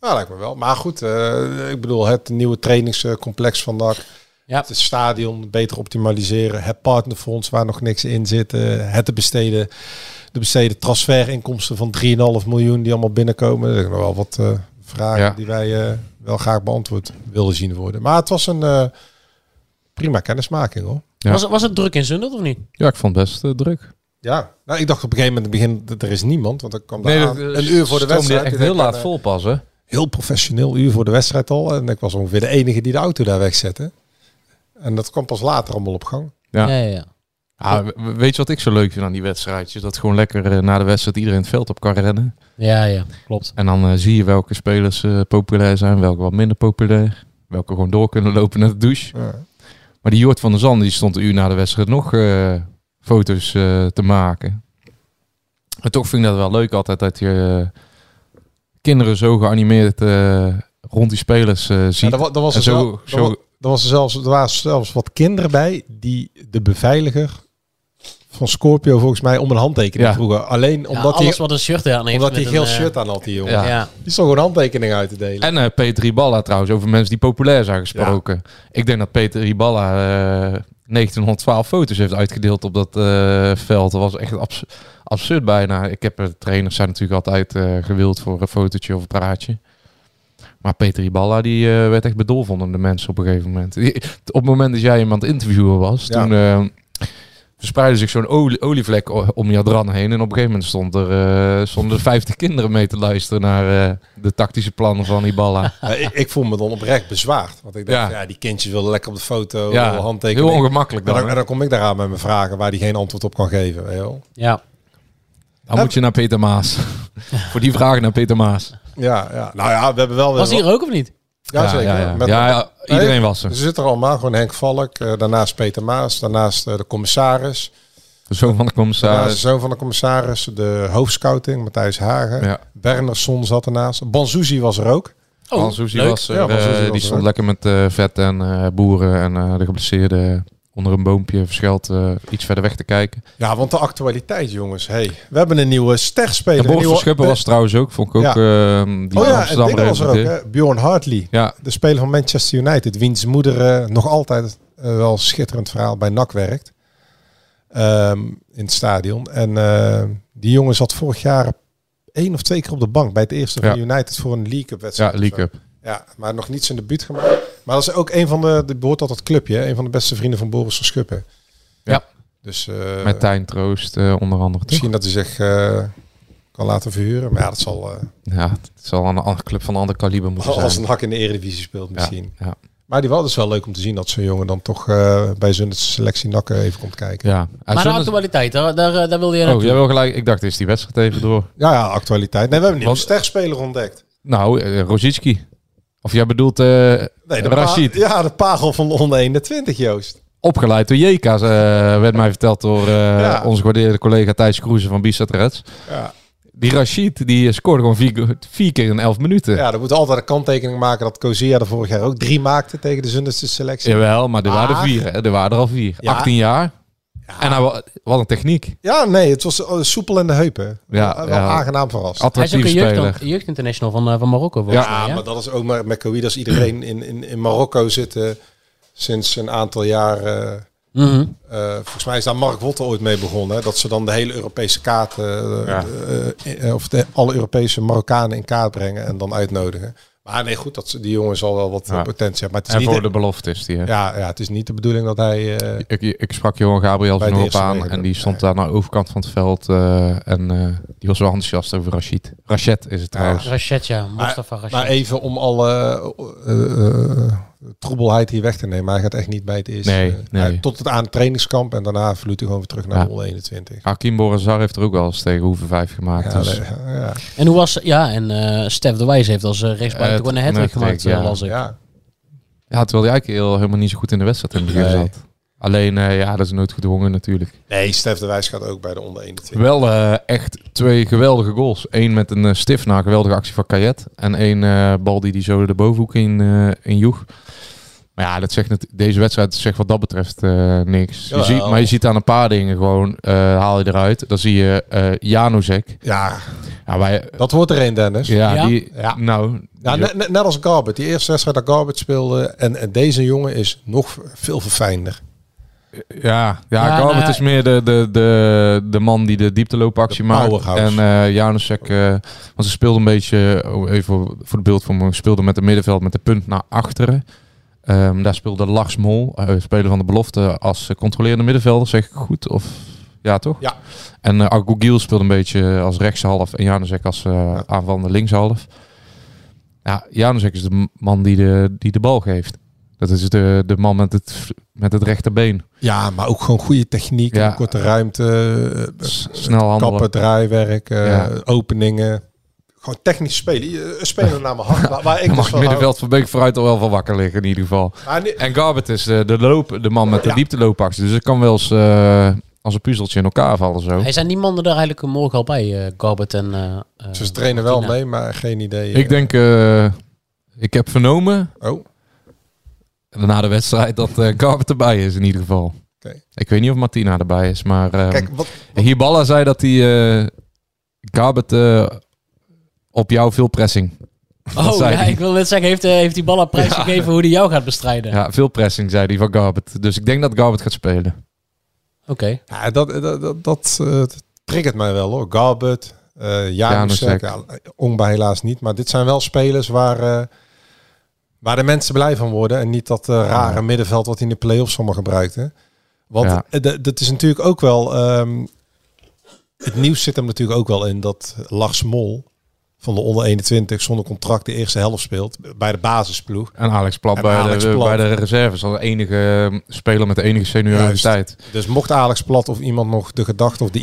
G: Nou, lijkt me wel. Maar goed, eh, ik bedoel, het nieuwe trainingscomplex van NAC.
E: Ja.
G: Het stadion beter optimaliseren. Het partnerfonds waar nog niks in zit. eh, het te besteden. De besteden transferinkomsten van 3,5 miljoen die allemaal binnenkomen. Er zijn nog wel wat eh, vragen
F: Ja.
G: die wij eh, wel graag beantwoord wilden zien worden. Maar het was een eh, prima kennismaking hoor.
F: Ja.
E: Was, het- was het druk in Zundert of niet?
F: Ja, ik vond het best eh, druk.
G: Ja, nou, ik dacht op een gegeven moment in het begin, dat er is niemand. Want dan kwam daar
F: Nee, eh,
G: aan. een uur voor de wedstrijd.
F: Echt
G: Ik
F: heel
G: denk,
F: laat
G: eh,
F: vol pas, hè?
G: heel professioneel uur voor de wedstrijd al. En ik was ongeveer de enige die de auto daar wegzette. En dat kwam pas later allemaal op gang.
F: Ja.
E: ja, ja.
F: Ah, we- we- weet je wat ik zo leuk vind aan die wedstrijdjes? Dat gewoon lekker eh, na de wedstrijd iedereen het veld op kan rennen.
E: Ja, ja, klopt.
F: En dan eh, zie je welke spelers eh, populair zijn, welke wat minder populair. Welke gewoon door kunnen lopen naar de douche.
G: Ja.
F: Maar die Jort van der Zand die stond een uur na de wedstrijd nog eh, foto's eh, te maken. En toch vind ik dat wel leuk altijd dat je eh, kinderen zo geanimeerd eh, rond die spelers eh ziet.
G: er, wa- er was
F: En
G: er,
F: zo-
G: zo,
F: zo-
G: er, was er, zelfs, er waren zelfs wat kinderen bij die de beveiliger van Scorpio volgens mij om een handtekening
F: Ja.
G: vroegen. Alleen
E: Ja,
G: omdat
E: alles
G: hij
E: wat een shirt aan heeft.
G: omdat hij
E: met
G: geel
E: een, eh,
G: shirt aan had, die jongen.
E: Ja.
F: Ja.
G: Die stond gewoon handtekening uit te delen.
F: En eh, Peter Riballa trouwens, over mensen die populair zijn gesproken. Ik denk dat Peter Riballa eh, 1912 foto's heeft uitgedeeld op dat eh, veld. Dat was echt abs- absurd bijna. Ik heb, eh, trainers zijn natuurlijk altijd eh, gewild voor een fotootje of een praatje. Maar Peter Riballa die eh, werd echt bedolven onder de mensen op een gegeven moment. Die- op het moment dat jij iemand interviewen was,
G: Ja.
F: toen... eh, verspreidde zich zo'n olie, olievlek o- om Jadran heen. En op een gegeven moment stond er, eh, stonden er 50 kinderen mee te luisteren naar eh, de tactische plannen van Ibala.
G: Ja, ik, ik voel me dan oprecht bezwaard. Want ik dacht, ja,
F: Ja.
G: die kindjes willen lekker op de foto,
F: Ja,
G: ja. handtekening.
F: Heel ongemakkelijk
G: en,
F: dan.
G: dan, en
F: hè?
G: dan kom ik daaraan met mijn vragen waar die geen antwoord op kan geven. Weet je wel.
E: ja.
F: Dan moet je naar Peter Maas. Voor die vragen naar Peter Maas.
G: Ja, ja, nou ja, we hebben wel... weer
E: Was hij er ook of niet?
G: Ja, zeker.
F: Ja, ja.
G: Met-
F: Ja, ja,
G: Nee,
F: iedereen was
G: Ze
F: er.
G: zitten er allemaal, gewoon Henk Valk, eh, daarnaast Peter Maas, daarnaast eh, de commissaris,
F: De zoon van de
G: daarnaast de
F: commissaris.
G: zoon van de commissaris, de hoofdscouting, Matthijs Hagen,
F: Ja.
G: Bernersson zat ernaast, Banzuzi was er ook.
F: Hans Hoesie
E: Oh, leuk.
F: was er.
G: Ja, Hans Hoesie
F: eh,
G: was
F: die
G: er,
F: stond
G: hè?
F: lekker met eh, vet en eh, boeren en eh, de geblesseerden onder een boompje verscheld eh, iets verder weg te kijken.
G: Ja, want de actualiteit, jongens. Hey, we hebben een nieuwe sterspeler.
F: En Boris
G: een
F: van
G: nieuwe-
F: Schuppen was trouwens ook, vond ik ook.
G: Ja.
F: eh, die
G: Oh ja, en
F: Amsterdammer
G: Dingen was er ook,
F: deed.
G: hè? Bjorn Hartley,
F: Ja,
G: de speler van Manchester United, wiens moeder eh, nog altijd eh, wel schitterend verhaal bij NAC werkt. Ehm, in het stadion. En eh, die jongen zat vorig jaar één of twee keer op de bank bij het eerste van
F: Ja.
G: United voor een League Cup
F: ja,
G: wedstrijd. of
F: League
G: zo.
F: Cup.
G: Ja, maar nog niet zijn debuut gemaakt. Maar dat is ook een van de, die behoort tot dat clubje, hè? een van de beste vrienden van Boris van Schuppen.
F: Ja.
G: Dus eh,
F: Met Tijn Troost eh, onder andere. toch?
G: misschien dat hij zich eh, kan laten verhuren. Maar ja, dat zal eh,
F: Ja, het zal aan een andere club van een ander kaliber moeten
G: als
F: zijn.
G: een hak in de eredivisie speelt misschien.
F: Ja, ja.
G: Maar die was dus wel leuk om te zien dat zo'n jongen dan toch eh, bij zijn selectie nakken even komt kijken.
F: Ja. En
E: Maar de
F: Sunderland-
E: actualiteit, daar, daar, eh, daar wilde je
F: Oh,
E: naartoe.
F: jij wil gelijk. Ik dacht, is die wedstrijd even door?
G: Ja, ja, actualiteit. Nee, we hebben een
F: Want-
G: sterspeler ontdekt.
F: Nou, eh, Rosicki. Of jij bedoelt eh
G: Nee, pa-
F: Rashid.
G: Ja, de pagel van de onder 21, Joost.
F: Opgeleid door Jeka's, eh, werd mij verteld door eh,
G: Ja.
F: onze gewaardeerde collega Thijs Kroeze van Bisat Reds.
G: Ja.
F: Die Rashid, die eh, scoorde gewoon vier, vier keer in elf minuten.
G: Ja, dan moet altijd een kanttekening maken dat Kozia er vorig jaar ook drie maakte tegen de Zunderse selectie. Ja,
F: Jawel, maar er waren
G: Maar-
F: er vier. hè. Er waren er al vier.
G: Ah. Ja.
F: 18 jaar. En hij, wa- wat een techniek.
G: nee, het was eh, soepel in de heupen.
F: Ja,
G: wel
F: ja.
G: aangenaam verrast.
E: Hij is ook
F: Attractief
E: een
F: speler.
E: jeugd, jeugdinternational van, eh, van Marokko. volgens
G: Ja,
E: mij, hè?
G: maar dat is ook maar met Coidas iedereen in, in, in Marokko zitten sinds een aantal jaar. eh,
E: Mhm.
G: eh, volgens mij is daar Mark Wotte ooit mee begonnen. Hè? Dat ze dan de hele Europese kaart, eh,
F: Ja.
G: eh, eh, of de, alle Europese Marokkanen in kaart brengen en dan uitnodigen. Maar nee, goed, dat ze, die jongen zal wel wat eh,
F: Ja.
G: potentie hebben. Maar het is,
F: En
G: niet
F: voor
G: de,
F: de beloftes. Die, hè.
G: ja, ja, het is niet de bedoeling dat hij... eh,
F: Ik, ik sprak Johan Gabriel
G: Bij
F: van
G: de
F: Hoop
G: eerste
F: aan
G: negen.
F: en die stond aan de overkant van het veld. eh, en eh, die was wel enthousiast over Rashid. Rashid is het trouwens.
E: Rachet, ja. Mustafa Rachet.
G: maar even om alle eh, eh, eh, troebelheid hier weg te nemen. Hij gaat echt niet bij het eerste. eh,
F: Nee, nee.
G: Hij- tot het aan het trainingskamp en daarna vloeit hij gewoon weer terug naar
F: Ja.
G: de 121.
F: Hakim Borazar heeft er ook wel eens tegen Hoeven 5 gemaakt.
G: Ja,
F: dus,
G: nee, ja,
E: En hoe was... Ja, en eh Stef de Wijs heeft als eh, rechtsbuiten
F: Eh,
E: gewoon een hat
F: een
E: gemaakt,
F: hat-trick,
E: eh,
F: ja.
E: las ik.
G: ja.
F: ja, terwijl hij eigenlijk heel, helemaal niet zo goed in de wedstrijd in het begin
G: Nee.
F: zat. Alleen, eh, ja, dat is nooit gedwongen natuurlijk.
G: Nee, Stef de Wijs gaat ook bij de onder 21.
F: Wel eh, echt twee geweldige goals. Eén met een eh, stift na een geweldige actie van Kayet. En één eh, bal die die zo de bovenhoek in, eh in joeg. Maar ja, dat zegt net, deze wedstrijd zegt wat dat betreft eh, niks. Je
G: Jawel.
F: ziet, maar je ziet aan een paar dingen gewoon, eh, haal je eruit. Dan zie je eh Januzek.
G: Ja,
F: Ja, wij,
G: dat wordt er een, Dennis.
F: ja,
E: Ja?
F: Die,
G: Ja.
F: nou... die
G: Ja,
F: is
G: net, net- net als Garbert. Die eerste wedstrijd dat Garbert speelde. En, en deze jongen is nog veel verfijnder.
F: Ja, ja,
E: Ja,
F: Garbert
E: nou ja.
F: is meer de, de, de, de man die de diepteloopactie
G: De
F: maakt.
G: powerhouse.
F: En eh Janusek, eh, want ze speelde een beetje, oh, even voor het beeld van me, speelde met het middenveld met de punt naar achteren. Ehm, daar speelde Lars Mol, eh, speler van de belofte, als eh, controlerende middenvelder, zeg ik goed? Of, ja, toch?
G: Ja.
F: En eh Agogiel speelde een beetje als rechtshalf en Janusek als eh aanvallende linkshalf. Ja, Janusek is de m- man die de, die de bal geeft. Dat is de, de man met het, met het rechterbeen.
G: Ja, maar ook gewoon goede techniek.
F: Ja.
G: een korte ruimte. eh,
F: S- snel handelen.
G: Kappen, draaiwerk, eh,
F: Ja. Dus
E: eh,
F: eh,
G: eh.
F: eh,
G: Oh.
F: eh, ehm, eh,
E: Oh, eh,
F: Dus
G: eh, eh, eh, ehm,
F: ehm,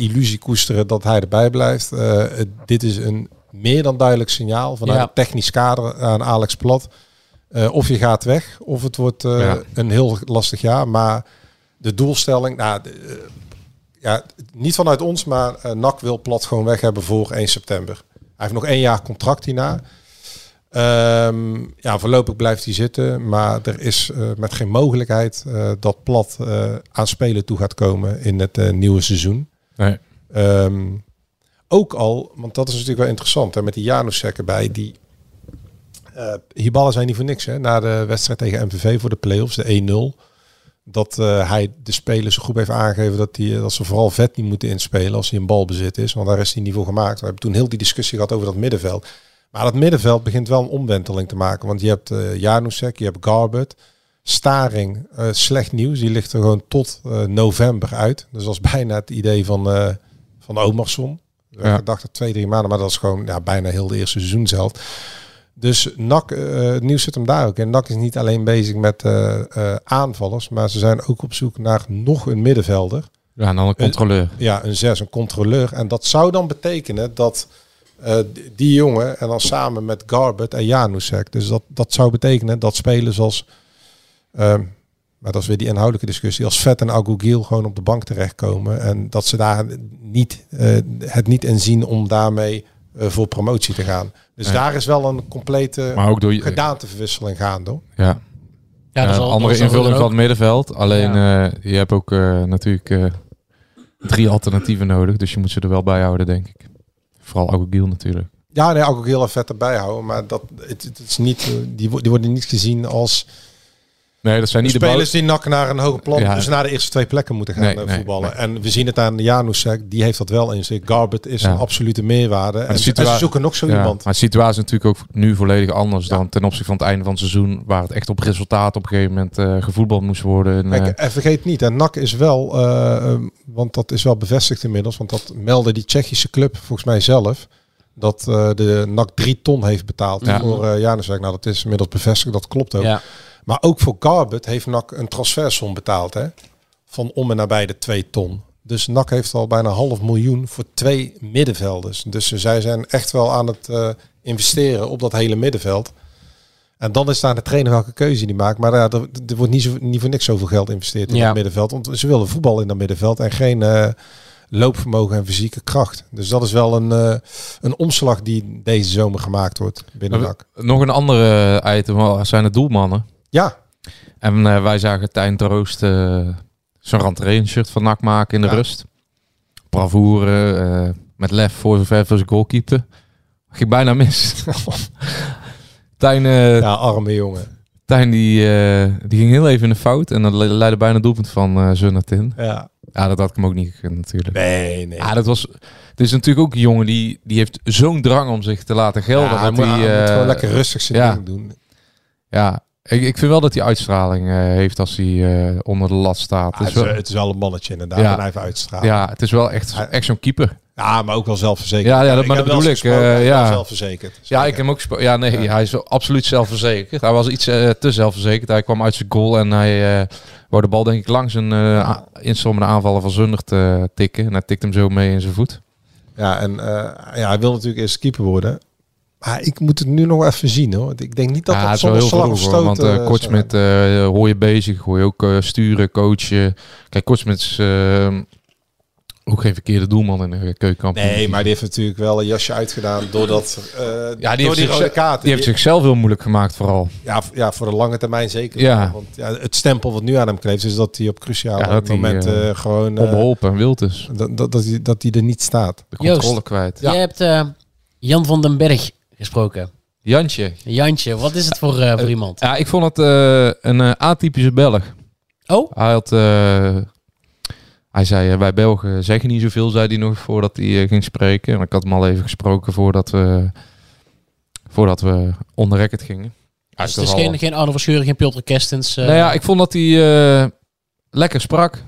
G: Dus eh, Eh, nou, eh, Ehm, eh, eh, Ehm, eh, eh, eh, eh, Dus Dus NAC, eh, het nieuws zit hem daar ook in. NAC is niet alleen bezig met eh, eh, aanvallers, maar ze zijn ook op zoek naar nog een middenvelder.
F: Ja, en dan een
G: Eh,
F: controleur.
G: Ja, een zes, een controleur. En dat zou dan betekenen dat eh, d- die jongen, en dan samen met Garbert en Janusek, dus dat, dat zou betekenen dat spelers als, ehm, maar dat is weer die inhoudelijke discussie, als Vet en Agogiel gewoon op de bank terechtkomen. En dat ze daar niet, eh, het niet in zien om daarmee eh, voor promotie te gaan. Dus
F: Nee.
G: daar is wel een complete
F: Maar ook eh, door je-
G: gedaanteverwisseling gaande. hoor.
F: Ja.
E: Ja,
F: Ja,
E: dat is
F: een
E: al-
F: andere
E: dat is al
F: invulling
E: er
F: van
E: ook.
F: het middenveld. Alleen eh, je hebt ook eh, natuurlijk eh, drie alternatieven nodig. Dus je moet ze er wel bij houden, denk ik. Vooral Agogiel natuurlijk.
G: Ja, nee, ook heel vet erbij houden. Maar dat, het, het is niet, eh, die, wo- die worden niet gezien als
F: Nee, dat zijn niet
G: de
F: de,
G: spelers die nak naar een hoger plan,
F: Ja.
G: dus naar de eerste twee plekken moeten gaan
F: Nee,
G: eh,
F: nee,
G: voetballen. En we zien het aan Janusek, die heeft dat wel in zich. Garbert is
F: Ja.
G: een absolute meerwaarde. En, ze- en
F: situa-
G: ze zoeken nog zo
F: Ja,
G: iemand.
F: Maar de situatie is natuurlijk ook nu volledig anders dan ten opzichte van het einde van het seizoen. Waar het echt op resultaat op een gegeven moment eh, gevoetbald moest worden. En, eh,
G: Kijk, en vergeet niet, en NAC is wel, eh, eh, want dat is wel bevestigd inmiddels, want dat meldde die Tsjechische club volgens mij zelf, dat eh, de NAC drie ton heeft betaald
F: Ja.
G: voor eh Janusek. Nou, dat is inmiddels bevestigd, dat klopt ook.
E: Ja.
G: Maar ook voor Garbert heeft NAC een transfersom betaald, hè? Van om en nabij de 2 ton. Dus NAC heeft al bijna een half miljoen voor twee middenvelders. Dus zij zijn echt wel aan het eh, investeren op dat hele middenveld. En dan is het aan de trainer welke keuze die maakt. Maar ja, er, er wordt niet, zo, niet voor niks zoveel geld geïnvesteerd in
E: Ja.
G: het middenveld. Want ze willen voetbal in dat middenveld en geen eh, loopvermogen en fysieke kracht. Dus dat is wel een, eh, een omslag die deze zomer gemaakt wordt binnen
F: Maar
G: NAC.
F: eh, Nog een andere eh, item wel, zijn de doelmannen.
G: Ja,
F: En eh, wij zagen Tijn Troost eh, zijn Rantrain shirt van NAC maken in de
G: Ja.
F: rust. Bravoure, eh, met lef voor zover voor zijn goal keepte. Ging bijna mis. Tijn, eh,
G: ja arme jongen.
F: Tijn die, eh, die ging heel even in de fout en dat le- leidde bijna een doelpunt van eh Zunnert in.
G: Ja.
F: Ja, dat had ik hem ook niet gekund natuurlijk.
G: Nee, nee.
F: Ja, Ah, dat was, het is natuurlijk ook een jongen die, die heeft zo'n drang om zich te laten gelden.
G: Ja,
F: dat
G: moet,
F: hij,
G: hij moet
F: eh,
G: gewoon lekker rustig zijn
F: ja.
G: ding doen.
F: Ja, ik, ik vind wel dat hij uitstraling eh, heeft als hij eh, onder de lat staat.
G: Ah,
F: Het
G: het,
F: is
G: is,
F: wel-
G: het is wel een mannetje inderdaad.
F: Ja.
G: En hij heeft uitstraling. Ja.
F: ja, het is wel echt,
G: Hij-
F: echt zo'n keeper.
G: maar ook wel zelfverzekerd.
F: Ja, ja, dat- maar
G: heb
F: dat
G: wel
F: bedoel
G: eens
F: ik,
G: gesproken,
F: eh,
G: hij is wel
F: ja.
G: zelfverzekerd.
F: Ja, ik heb hem ook. gespo- Ja, nee, hij is wel absoluut zelfverzekerd. Hij was iets eh, te zelfverzekerd. Hij kwam uit zijn goal en hij eh, wou de bal denk ik langs een eh a- instommende aanvaller van Zundert eh, tikken. En hij tikt hem zo mee in zijn voet.
G: Ja, en eh, ja, hij wil natuurlijk eerst keeper worden. Maar ik moet het nu nog even zien hoor. Want Ik denk niet dat
F: ja,
G: dat
F: het is wel
G: zonder
F: heel
G: slag of
F: vroeg, hoor,
G: stoot...
F: want eh,
G: eh, zou
F: Kortsmit eh, hoor je bezig, hoor je ook eh, sturen, coachen. Kijk, Kortsmit is eh, ook geen verkeerde doelman in de keukenkamp.
G: zijn. Nee, maar die heeft natuurlijk wel een jasje uitgedaan doordat, eh
F: ja, die
G: door
F: heeft,
G: die rode
F: zich-
G: kaart.
F: die heeft zichzelf heel moeilijk gemaakt vooral.
G: ja, v- ja, voor de lange termijn zeker.
F: Ja.
G: Want ja, het stempel wat nu aan hem kleeft is dat hij op cruciale
F: Ja, dat hij,
G: momenten
F: eh,
G: eh, gewoon... eh,
F: Onbeholpen en wild is.
G: dat, dat, dat, hij, dat hij er niet staat.
F: De controle
E: Joost.
F: kwijt.
E: Je hebt eh, Jan van den Berg gesproken.
F: Jantje.
E: Jantje, wat is het voor, eh, voor iemand?
F: Ja, ik vond het eh, een eh, atypische Belg.
E: Oh,
F: Hij had... eh, hij zei, eh, wij Belgen zeggen niet zoveel, zei hij nog, voordat hij eh, ging spreken. Maar ik had hem al even gesproken voordat we, voordat we onder record gingen. Hij
E: dus
F: toch
E: het is
F: al-
E: geen, geen Arno Verschuren, geen Pilter Kerstens. eh,
F: Nou ja, ik vond dat hij eh, lekker sprak.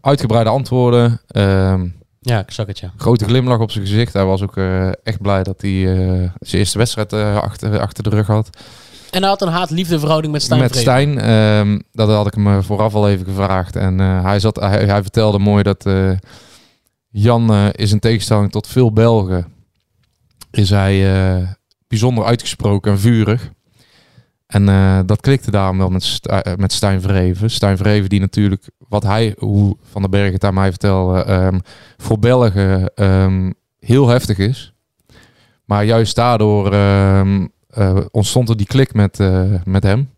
F: Uitgebreide antwoorden. ehm,
E: ja, ik zag het, ja.
F: grote glimlach op zijn gezicht. Hij was ook eh, echt blij dat hij eh, zijn eerste wedstrijd eh, achter, achter de rug had.
E: En hij had een haat-liefde verhouding met Stijn
F: Met
E: Vreven.
F: Stijn, ehm, dat had ik hem eh, vooraf al even gevraagd. En eh, hij, zat, hij, hij vertelde mooi dat eh, Jan eh, is in tegenstelling tot veel Belgen, is hij eh, bijzonder uitgesproken en vurig. En eh, dat klikte daarom wel met, St- eh, met Stijn Vreven. Stijn Vreven die natuurlijk, wat hij, hoe Van den Berg het aan mij vertelde, ehm, voor Belgen ehm, heel heftig is. Maar juist daardoor ehm, eh, ontstond er die klik met, eh, met hem.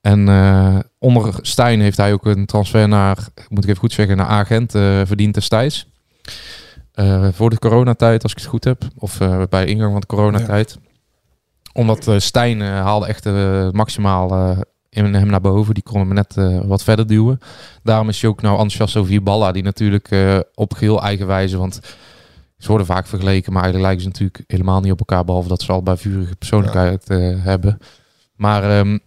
F: En eh, onder Stijn heeft hij ook een transfer naar, moet ik even goed zeggen, naar agent eh, verdiend destijds. Eh, voor de coronatijd, als ik het goed heb. Of eh, bij de ingang van de coronatijd. Omdat eh, Stijn eh, haalde echt eh, maximaal eh, in hem naar boven. Die kon hem net eh, wat verder duwen. Daarom is hij ook nou enthousiast over Hiballa. Die natuurlijk eh, op geheel eigen wijze, want ze worden vaak vergeleken. Maar eigenlijk lijken ze natuurlijk helemaal niet op elkaar. Behalve dat ze al bij vurige persoonlijkheid eh, hebben. Maar ehm,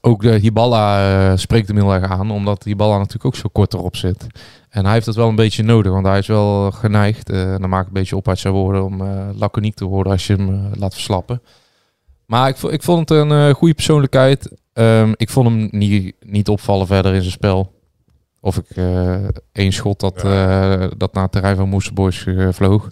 F: ook de Hiballa eh, spreekt hem heel erg aan, omdat Hiballa natuurlijk ook zo kort erop zit. En En hij heeft dat wel een beetje nodig, want hij is wel geneigd, eh, en dan maak ik een beetje op uit zijn woorden, om eh, laconiek te worden als je hem eh, laat verslappen. Maar ik, vo- ik vond het een eh, goede persoonlijkheid. Ehm, ik vond hem niet, niet opvallen verder in zijn spel. Of ik eh, één schot dat, eh, dat naar het terrein van Moesterboys eh, vloog.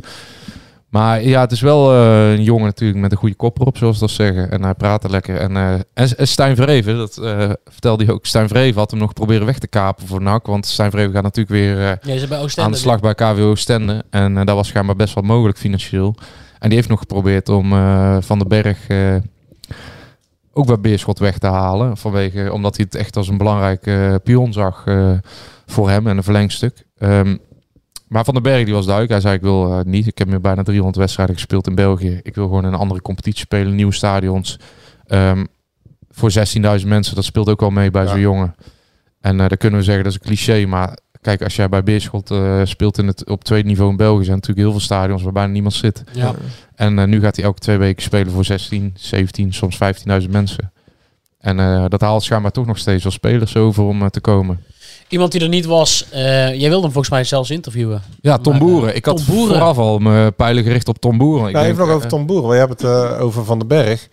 F: Maar ja, het is wel eh, een jongen natuurlijk met een goede kop erop, zoals ze dat zeggen. En hij praatte lekker. En, eh, en, en Stijn Vreven, dat eh, vertelde hij ook. Stijn Vreven had hem nog proberen weg te kapen voor NAC. Want Stijn Vreven gaat natuurlijk weer eh,
E: Ja, ze zijn bij Oostende.
F: aan de slag bij KWO Stenden. En eh, dat was schijnbaar best wel mogelijk financieel. En die heeft nog geprobeerd om eh, Van den Berg eh, ook bij Beerschot weg te halen. Vanwege, omdat hij het echt als een belangrijk eh, pion zag eh, voor hem en een verlengstuk. Ehm, maar Van den Berg die was duidelijk. Hij zei ik wil eh, niet. Ik heb nu bijna 300 wedstrijden gespeeld in België. Ik wil gewoon in een andere competitie spelen. Nieuwe stadions. Ehm, voor 16.000 mensen. Dat speelt ook wel mee bij
G: Ja.
F: zo'n jongen. En eh dan kunnen we zeggen dat is een cliché. Maar kijk als jij bij Beerschot eh, speelt in het, op tweede niveau in België. Zijn natuurlijk heel veel stadions waar bijna niemand zit.
E: Ja.
F: En eh, nu gaat hij elke twee weken spelen voor 16, 17, soms 15.000 mensen. En eh, dat haalt schijnbaar toch nog steeds wel spelers over om eh, te komen.
E: Iemand die er niet was, eh, jij wilde hem volgens mij zelfs interviewen.
F: Ja, Tom
E: Maar, eh,
F: Boeren. Ik had
E: Tom Boeren.
F: vooraf al mijn pijlen gericht op Tom Boeren. Ik
G: Nou,
F: denk,
G: even nog
F: eh,
G: over Tom Boeren. We hebben het eh, over Van den Berg.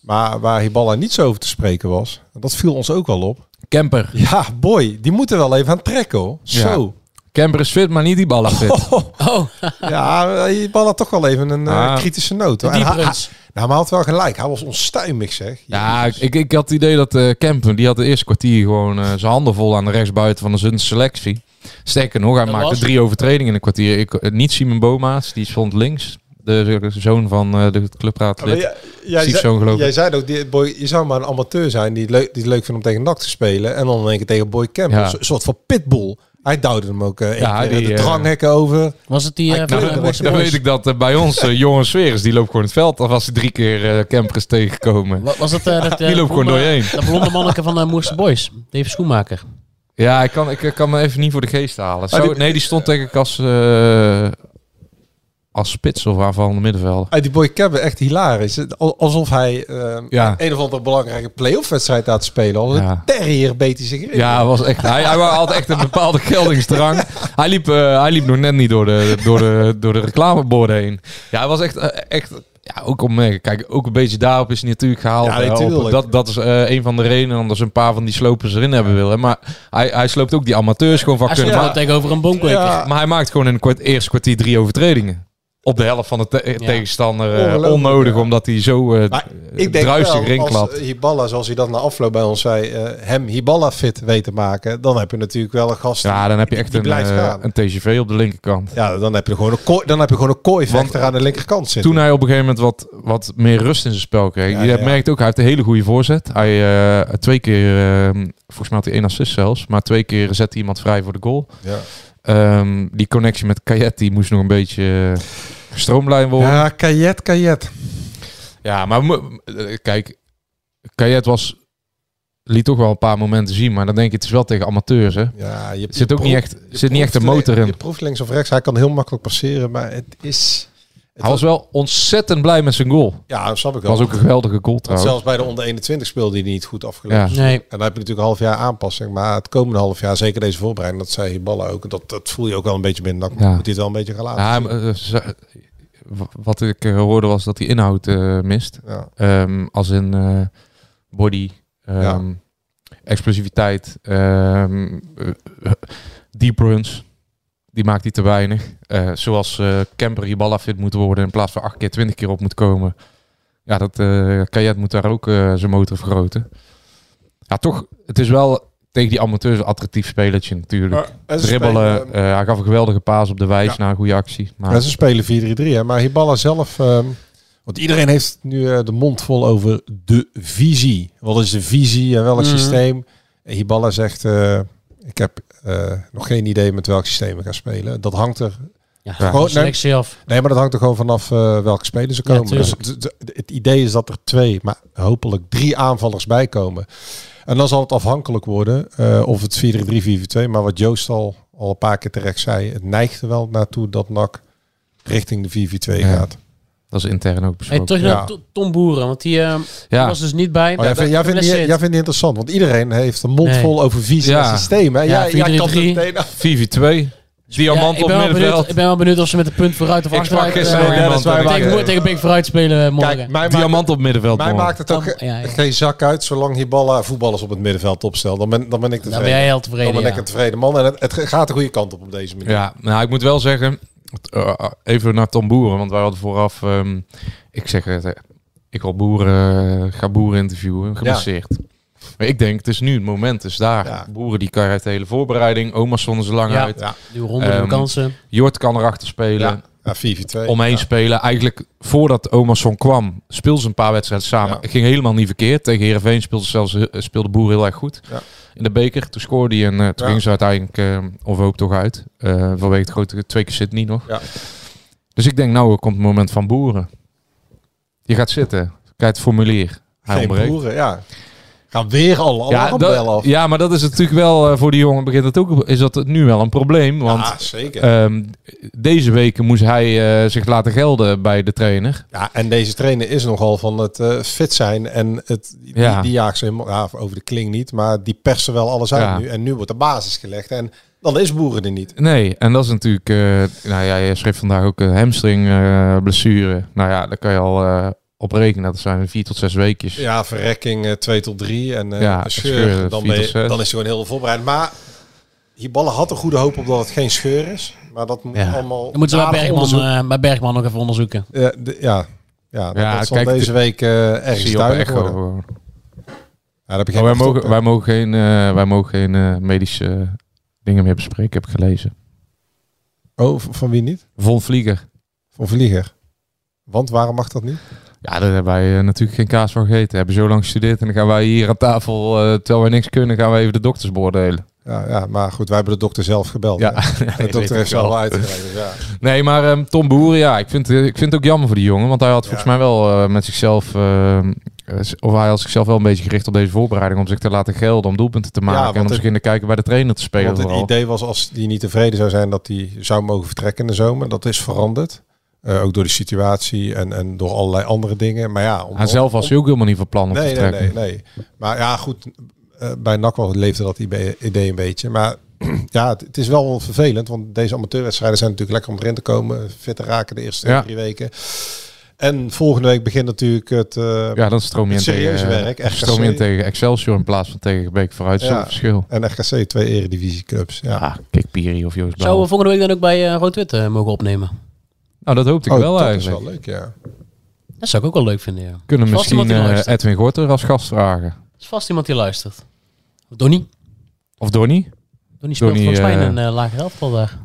G: Maar waar Hiballa niet zo over te spreken was, dat viel ons ook wel op.
F: Kemper.
G: Ja, boy, die moeten wel even aan trekken hoor.
F: Ja.
G: Zo.
F: Kemper is fit, maar niet die ballen fit.
E: Oh,
G: Ja, Hiballa toch wel even een eh,
F: Ah.
G: kritische noot.
E: de
G: hoor. En hij- hij-
E: dieprins.
G: Nou, maar hij had wel gelijk. Hij was onstuimig zeg.
F: Ja, ik,
G: Jezus.
F: ik, ik had het idee dat eh Kemper, die had de eerste kwartier gewoon eh, zijn handen vol aan de rechtsbuiten van de Zundse selectie. Sterker nog, hij
E: Dat
F: maakte
E: was-
F: drie overtredingen in een kwartier. Ik, eh, niet Simon Boma's, die stond links. De, de zoon van eh, de
G: Ah, Maar
F: clubraadlid.
G: jij- jij,
F: Stiefzoon,
G: zei,
F: geloof ik.
G: jij zei ook, die, boy, je zou maar een amateur zijn die het leuk, die het leuk vindt om tegen NAC te spelen. En dan in één keer tegen Boy Campbell.
F: Ja.
G: Een soort van pitbull. Hij duwde hem ook eh
F: Ja,
G: ja,
F: die,
G: de
F: eh,
G: dranghekken over.
E: Was het die... eh,
G: Hij
E: van,
G: knalde
E: eh,
G: hem
E: Boys
G: weg.
F: Dan
E: Boys?
F: weet ik dat eh, bij ons eh, Johan Sweres, die loopt gewoon het veld af als hij drie keer eh Kemper is tegengekomen.
E: Wa- Was dat... eh, dat eh,
F: Die loopt gewoon door
E: blonde-
F: je heen.
E: Dat blonde manneke van eh Moerse Boys. Dave Schoenmaker.
F: Ja, ik kan, ik, ik kan me even niet voor de geest halen. Zo,
G: Ah, die-
F: nee, die stond denk ik als, eh, als spits of waarvan de middenvelder.
G: Hey, die Boy Campbell, echt hilarisch. Het- al- Alsof hij eh,
F: Ja.
G: een of andere belangrijke playoff wedstrijd aan het spelen. Al een
F: Ja.
G: terrier beet hij zich in.
F: Ja, was echt, hij, hij had echt een bepaalde geldingsdrang. Hij liep, eh, hij liep nog net niet door de, door de, door de reclameborden heen. Ja, hij was echt, eh, echt ja, ook opmerkelijk. Kijk, ook een beetje daarop is hij natuurlijk gehaald.
G: Ja,
F: eh, op-
G: natuurlijk.
F: dat, dat is eh, een van de redenen omdat ze een paar van die slopers erin hebben willen. Maar hij, hij sloopt ook die amateurs gewoon van
E: Hij stond
F: kunnen.
E: wel
F: Maar,
E: tegenover een boomkweker.
G: Ja.
F: maar hij maakt gewoon in het kwart- eerste kwartier drie overtredingen. Op de helft van de te- tegenstander. eh,
G: Ongelooflijk,
F: onnodig,
G: ja.
F: omdat hij zo eh
G: Maar ik denk
F: druistig
G: wel,
F: erin
G: als eh,
F: klapt.
G: Hiballa, zoals hij dat na afloop bij ons zei, eh, hem Hiballa fit weet te maken, dan heb je natuurlijk wel een gast.
F: Ja, dan heb je echt
G: die
F: een,
G: blijft
F: eh,
G: gaan.
F: een TGV op de linkerkant.
G: Ja, dan heb je gewoon een kooi, dan heb je gewoon een kooivechter aan de linkerkant zitten.
F: Toen hij op een gegeven moment wat, wat meer rust in zijn spel kreeg.
G: Ja,
F: je
G: ja,
F: hebt
G: ja.
F: merkt ook, hij heeft een hele goede voorzet. Hij eh, twee keer, eh, volgens mij had hij één assist zelfs. Maar twee keer zette hij iemand vrij voor de goal.
G: ja.
F: Ehm, die connectie met Kayet, die moest nog een beetje eh, gestroomlijnd worden. Ja,
G: Ja, kajet, kajet.
F: maar we mo- eh, kijk, Kayet was, liet toch wel een paar momenten zien. Maar dan denk ik, het is wel tegen amateurs hè.
G: Ja, je
F: Er zit ook
G: je
F: niet
G: proeft-
F: echt,
G: je
F: zit niet echt een
G: proeft-
F: motor in.
G: Je proeft links of rechts. Hij kan heel makkelijk passeren, maar het is... het
F: Hij was wel ontzettend blij met zijn goal.
G: Ja, dat snap ik wel.
F: was ook een geweldige goal trouwens.
G: Zelfs bij de onder 21 speelde hij niet goed afgelopen.
F: Ja.
G: seizoen.
E: Nee.
G: En dan heb je natuurlijk een half jaar aanpassing. Maar het komende half jaar, zeker deze voorbereiding, dat zei ballen ook. Dat, dat voel je ook wel een beetje binnen. Dan
F: Ja.
G: moet hij het wel een beetje gaan laten.
F: Ja,
G: zien.
F: maar, eh, ze- w- wat ik eh, hoorde was dat hij inhoud eh, mist.
G: Ja.
F: Ehm, als in eh, body, ehm,
G: Ja.
F: explosiviteit, ehm, eh, eh, deep runs. Die maakt hij te weinig. Eh, zoals eh Kemper Hiballa fit moet worden in plaats van acht keer 20 keer op moet komen. Ja, dat eh Kayet moet daar ook eh, zijn motor vergroten. Ja, toch, het is wel tegen die amateurs een attractief spelertje natuurlijk.
G: Maar- en ze
F: Dribbelen,
G: spelen-
F: eh, hij gaf een geweldige paas op de wijs
G: ehm, Ja.
F: na een goede actie. Maar
G: Ja, ze spelen 4-3-3, hè. maar Hiballa zelf... ehm, want iedereen heeft nu eh, de mond vol over de visie. Wat is de visie en welk
E: Mhm.
G: systeem? En Hiballa zegt, eh, ik heb eh, nog geen idee met welk systeem we gaan spelen. Dat hangt er...
E: Ja,
G: Ja.
E: van de selectie af.
G: Nee, maar dat hangt er gewoon vanaf eh, welke spelers er
E: Ja,
G: komen. dus
E: tuurlijk.
G: het, het- het idee is dat er twee, maar hopelijk drie aanvallers bij komen. En dan zal het afhankelijk worden eh, of het 4-3-3-4-2. Maar wat Joost al, al een paar keer terecht zei, het neigt er wel naartoe dat NAC richting de 4-4-2
F: Ja.
G: gaat.
F: Dat is intern ook
E: Hey,
F: besproken.
E: terug naar
G: Ja.
E: To- Tom Boeren, want die eh,
F: ja.
E: was dus niet bij.
G: Oh, jij, vindt, jij, vindt die, jij vindt die interessant, want iedereen heeft een mond
E: Nee.
G: vol over vies
F: Ja.
G: en systeem. Hè?
E: Ja,
G: jij, jij kan
E: 4-3-3.
G: er meteen af.
F: 4v2. Diamant
E: ik,
F: op
E: ben wel benieuwd,
F: middenveld.
E: ik ben wel benieuwd of ze met een punt vooruit of
F: Ik sprak
E: achteruit...
F: gisteren
E: eh,
F: nog iemand.
G: dat is waar,
F: en ik-
E: tegen,
G: waar.
E: tegen Big Vooruit spelen eh, morgen.
G: Kijk, mij maakt,
F: Diamant op middenveld.
G: mij
F: morgen.
G: maakt het ook
E: Dan- ja, ja.
G: geen zak uit zolang die ballen voetballers op het middenveld opstellen. Dan ben, dan ben ik
E: dan
G: tevreden.
E: Nou, ben jij heel
G: Dan
E: tevreden.
G: ben ik
E: ja.
G: een tevreden man. En het, het gaat de goede kant op op deze manier.
F: Ja, nou ik moet wel zeggen, het, eh, even naar Tom Boeren, want wij hadden vooraf, ehm, ik zeg het, eh, ik wil boeren, eh, ga boeren interviewen, geblesseerd. Maar ik denk, het is nu het moment, is daar.
G: Ja.
F: Boeren die kan uit de hele voorbereiding, Omerson is er lang
E: Ja.
F: uit,
G: Ja.
E: Nieuwe ronde, nieuwe
F: Ehm,
E: kansen.
F: Jort kan erachter spelen,
G: Ja, ja 4-4-2.
F: omheen
G: Ja.
F: spelen. Eigenlijk voordat Omerson kwam, speelden ze een paar wedstrijden samen.
G: Ja.
F: Het ging helemaal niet verkeerd. Tegen Heerenveen speelde, zelfs, eh, speelde Boer heel erg goed.
G: Ja.
F: In de beker, toen scoorde hij en eh, toen
G: Ja.
F: ging ze uiteindelijk, eh of hoop toch uit. Eh, vanwege het grote, twee keer zit niet nog.
G: Ja.
F: Dus ik denk, nou komt het moment van Boeren. Je gaat zitten, kijk het formulier. Hij
G: Geen
F: ontbreekt.
G: boeren, ja. Gaan weer alle
F: Ja,
G: alarmbellen
F: dat-
G: af.
F: ja, maar dat is natuurlijk wel, eh, voor die jongen begint het ook, is dat nu wel een probleem. Want
G: Ja, zeker.
F: ehm, deze weken moest hij eh, zich laten gelden bij de trainer.
G: ja, en deze trainer is nogal van het eh, fit zijn. En het, die,
F: Ja.
G: die jaagt ze helemaal ja, over de kling niet. Maar die persen wel alles uit
F: Ja.
G: nu. En nu wordt de basis gelegd. En dan is boeren er niet.
F: Nee, en dat is natuurlijk. eh, nou ja, je schreef vandaag ook een hamstring eh, blessure. Nou ja, daar kan je al eh, op rekenen. Dat zijn vier tot zes weekjes.
G: Ja, verrekking 2 tot 3. En eh
F: Ja,
G: scheur,
F: scheuren,
G: dan,
F: vier
G: ben je-
F: tot zes.
G: dan is er gewoon heel veel voorbereid. Maar die ballen had een goede hoop op dat het geen scheur is. Maar dat moet
F: Ja.
G: allemaal...
E: Dan moeten we bij
G: nader
E: Bergman,
G: onderzoek.
E: eh, bij Bergman nog even onderzoeken.
G: Ja, de- ja. Ja, dat
F: Ja,
G: dat zal
F: kijk,
G: deze week eh
F: Zie
G: ergens
F: je op de
G: duidelijk
F: echo.
G: worden.
F: gewoon.
G: Ja, dat begint
F: Maar wij,
G: echt op,
F: mogen,
G: hè.
F: wij mogen geen, eh, wij mogen geen eh, medische dingen meer bespreken, heb ik gelezen.
G: Oh, v- van wie niet?
F: Von Vlieger.
G: Van Vlieger. Want waarom mag dat niet?
F: Ja, daar hebben wij eh, natuurlijk geen kaas van gegeten. We hebben zo lang gestudeerd. En dan gaan wij hier aan tafel, eh, terwijl wij niks kunnen, gaan wij even de dokters beoordelen.
G: Ja, ja, maar goed, wij hebben de dokter zelf gebeld.
F: Ja,
G: hè. de
F: weet
G: dokter heeft
F: ik
G: zelf
F: wel.
G: uitgerekend. dus Ja.
F: Nee, maar ehm, Tom Boer, ja, ik vind, eh, ik vind het ook jammer voor die jongen. Want hij had volgens mij wel eh, met zichzelf. ehm, eh, of hij had zichzelf wel een beetje gericht op deze voorbereiding. Om zich te laten gelden, om doelpunten te maken.
G: want
F: en om
G: het-
F: zich in de kijken bij de trainer te spelen.
G: Want het
F: vooral.
G: idee was als die niet tevreden zou zijn dat die zou mogen vertrekken in de zomer. Dat is veranderd. Eh, ook door de situatie en, en door allerlei andere dingen. Maar ja, om,
F: Hij zelf was hij ook helemaal niet van plan om te
G: Nee, nee,
F: trekken.
G: nee, nee. Maar ja, goed. eh, bij NAC wel leefde dat idee idee een beetje. Maar ja, het, het is wel vervelend. Want deze amateurwedstrijden zijn natuurlijk lekker om erin te komen. Fit te raken de eerste
F: Ja.
G: drie weken. En volgende week begint natuurlijk het... eh,
F: Ja, dan stroom je in
G: Het serieuze
F: tegen, eh,
G: werk, echt
F: stroom je in
G: serieus.
F: tegen Excelsior in plaats van tegen Beek vooruit.
G: Ja.
F: Zo'n verschil.
G: En RKC, twee eredivisieclubs. Ja. Oh,
F: Ja, Ah, kijk Piri of Joost
E: Zouden
F: Bouw.
E: we volgende week dan ook bij eh, Rood-Wit eh, mogen opnemen?
F: Nou, dat hoopte ik
G: Oh,
F: wel
G: dat
F: eigenlijk.
G: is wel leuk, ja.
E: Dat zou ik ook wel leuk vinden, ja.
F: Kunnen we
E: Vast iemand
F: misschien
E: die
F: eh,
E: luistert.
F: Edwin Gorter als gast vragen.
E: Er is vast iemand die luistert. Donnie?
F: Of Donny?
E: Donnie speelt
F: Donnie,
E: volgens mij in
F: eh,
E: een eh, lager elftal daar.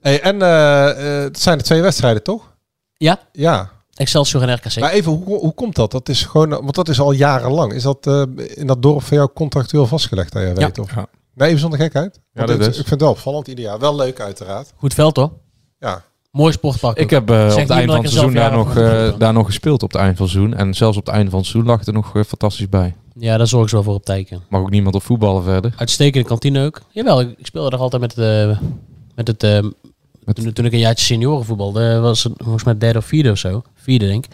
G: Hey, en eh, eh, het zijn er twee wedstrijden, toch?
E: Ja,
G: Ja.
E: Excelsior en RKC.
G: Maar even, hoe, hoe komt dat? Dat is gewoon... Want dat is al jarenlang. Is dat eh, in dat dorp van jou contractueel vastgelegd, dat jij weet, of?
F: Ja.
G: Nee, even zonder gekheid. Want
F: dat
G: het-
F: is.
G: Ik vind het wel opvallend ieder jaar. Wel leuk uiteraard.
E: Goed veld, hoor.
G: Ja.
E: Mooi sportpark.
F: Ik heb eh, op
E: niet
F: het eind
E: omdat
F: van
E: ik
F: het
E: er
F: seizoen
E: zelf
F: daar nog,
E: jaren van
F: eh,
E: heb.
F: daar nog gespeeld op het eind van het seizoen. En zelfs op het eind van het seizoen lag het er nog eh, fantastisch bij.
E: Ja, daar zorgen ze wel voor op teken.
F: Mag ook niemand op voetballen verder.
E: Uitstekende kantine ook. Jawel, ik ik speelde er altijd met het... eh, met het eh, toen, toen ik een jaartje senioren voetbalde, was het volgens mij derde of vierde of zo. Vierde, denk ik.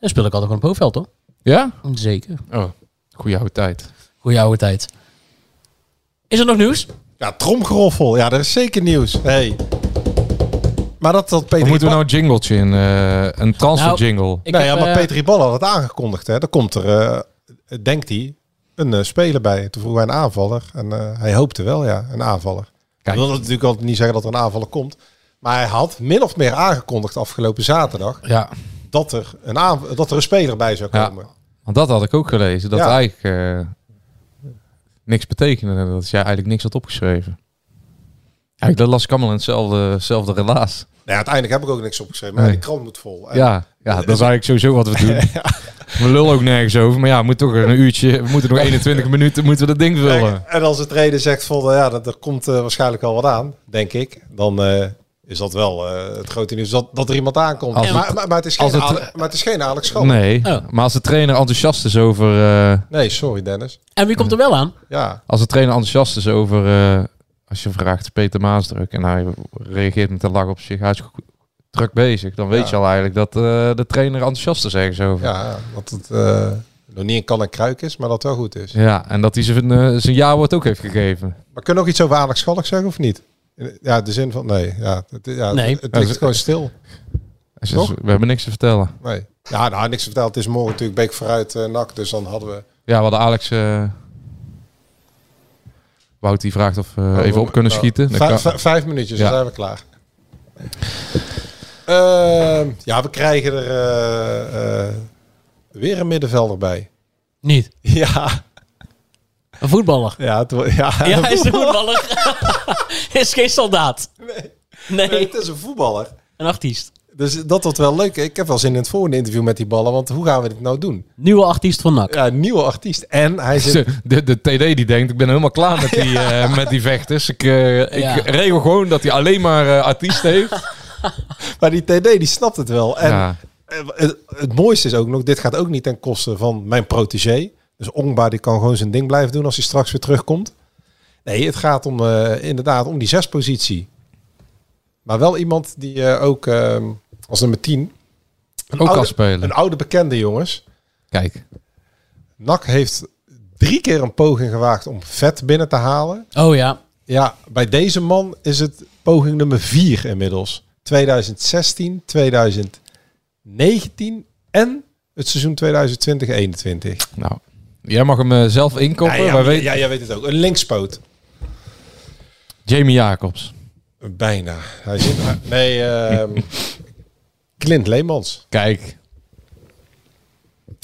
E: Dan speelde ik altijd gewoon op hoofdveld, hoor.
F: Ja?
E: Zeker.
F: Oh, goede oude tijd.
E: Goeie oude tijd. Is er nog nieuws?
G: Ja, tromgeroffel. Ja, dat is zeker nieuws. Hey. Maar dat, dat Peter...
F: Of moeten we nou een jingletje in? eh, een transfer
E: Nou,
F: jingle.
E: Ik
G: nee,
E: heb,
G: ja, maar
E: eh,
G: Peter Iballa had het aangekondigd. Hè. Daar komt er, eh, denkt hij, een eh, speler bij. Toen vroeg hij een aanvaller. En eh, hij hoopte wel, ja, een aanvaller. Hij wilde natuurlijk altijd niet zeggen dat er een aanvaller komt. Maar hij had min of meer aangekondigd afgelopen zaterdag...
F: Ja,
G: dat er een, aanv- dat er een speler bij zou
F: Ja.
G: komen.
F: want dat had ik ook gelezen. Dat
G: Ja.
F: eigenlijk eh, niks betekende. Dat jij eigenlijk niks had opgeschreven. Eigenlijk, dat las ik allemaal in hetzelfde, hetzelfde relaas.
G: Nou ja, uiteindelijk heb ik ook niks opgeschreven. Maar
F: Nee.
G: die krant moet vol. En-
F: Ja, ja, dat is eigenlijk sowieso wat we doen. We lullen ook nergens over. Maar ja, we moeten toch een uurtje... We moeten nog 21 minuten moeten we dat ding vullen.
G: En, en als de trainer zegt van nou ja, dat, er komt eh, waarschijnlijk al wat aan, denk ik, dan eh, is dat wel eh, het grote nieuws dat, dat er iemand aankomt.
F: Als het-
G: maar, maar, maar, het is geen
F: als het-
G: Ale- maar het is geen Alex Schal. Nee.
F: Nee,
E: Oh.
F: maar als de trainer enthousiast is over... eh,
G: sorry Dennis.
E: En wie komt er wel aan?
G: Ja,
F: als de trainer enthousiast is over... eh, als je vraagt Peter Maasdruk en hij reageert met een lach op zich. Hij is goed, druk bezig. Dan weet
G: Ja.
F: je al eigenlijk dat eh, de trainer enthousiast is ergens over. Ja.
G: Ja, dat het eh, nog niet een kan en kruik is, maar dat het wel goed is.
F: en dat hij zijn, eh, zijn ja-woord ook heeft gegeven.
G: Maar kunnen we nog iets over Alex Schalk zeggen of niet? Ja, de zin van nee. Ja, het, ja,
E: Nee.
G: het, het ligt gewoon stil.
F: Hij
G: Toch?
F: zegt, we hebben niks te vertellen.
G: Nee. Ja, nou, niks verteld. Het is morgen natuurlijk Beek vooruit eh NAC, dus dan hadden we...
F: Ja, we hadden Alex... eh Wout die vraagt of we even op kunnen
G: Nou,
F: schieten. Dan
G: vijf-
F: kan-
G: vijf- vijf minuutjes,
F: Ja.
G: dan zijn we klaar. Ehm, ja, we krijgen er eh, eh, weer een middenvelder bij.
E: Niet.
G: Ja,
E: Een voetballer.
G: ja, het, wo- ja.
E: Ja, hij is een voetballer. is geen soldaat. Nee.
G: Nee, het is een voetballer.
E: Een artiest.
G: Dus dat wordt wel leuk. Ik heb wel zin in het volgende interview met die ballen, want hoe gaan we dit nou doen?
E: Nieuwe artiest van NAC.
G: Ja, nieuwe artiest. En hij zit...
F: De, de TD die denkt, ik ben helemaal klaar met die, eh, met die vechters. Ik, eh, ik
E: Ja.
F: regel gewoon dat hij alleen maar eh, artiesten heeft.
G: Maar die TD, die snapt het wel. En
F: ja.
G: Eh, Het, het mooiste is ook nog, dit gaat ook niet ten koste van mijn protégé. Dus Ongba die kan gewoon zijn ding blijven doen als hij straks weer terugkomt. Nee, het gaat om, eh, inderdaad om die zespositie. Maar wel iemand die eh, ook ehm, als nummer 10... een
F: Ook kan
G: oude-
F: spelen.
G: Een oude bekende, jongens.
F: Kijk,
G: NAC heeft drie keer een poging gewaagd om vet binnen te halen.
E: Oh ja.
G: Ja, bij deze man is het poging nummer 4 inmiddels. 2016, 2019 en het seizoen 2020 21
F: nou, jij mag hem eh, zelf inkopen.
G: ja,
F: Wij
G: ja,
F: weten-
G: ja, jij weet het ook. Een linkspoot.
F: Jamie Jacobs.
G: Bijna. Hij zit... nee, ehm, Clint Leemans.
F: Kijk,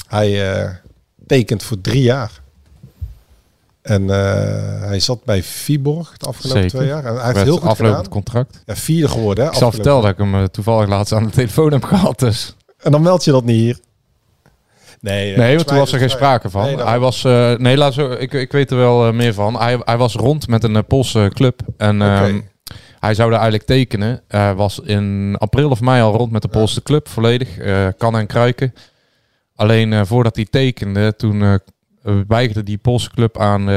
G: Hij eh, tekent voor drie jaar. En eh, hij zat bij Viborg de afgelopen
F: Zeker.
G: twee jaar. En hij heeft
F: met
G: heel goed
F: aflopend
G: gedaan.
F: contract.
G: Ja, vierde geworden. Hè,
F: Ik zal
G: afgelopen-
F: vertellen dat ik hem eh, toevallig laatst aan de telefoon heb gehad. Dus.
G: En dan meld je dat niet hier. Nee, eh,
F: Nee, want toen was er geen sprake van.
G: Nee, daarom.
F: hij was, eh, nee, laat zo, ik, ik weet er wel eh, meer van. Hij, hij was rond met een eh, Poolse club. En
G: Oké.
F: ehm, Hij zou daar eigenlijk tekenen. Eh, was in april of mei al rond met de Poolse club, volledig. eh kan en kruiken. Alleen eh, voordat hij tekende, toen eh, eh, weigerde die Poolse club aan eh,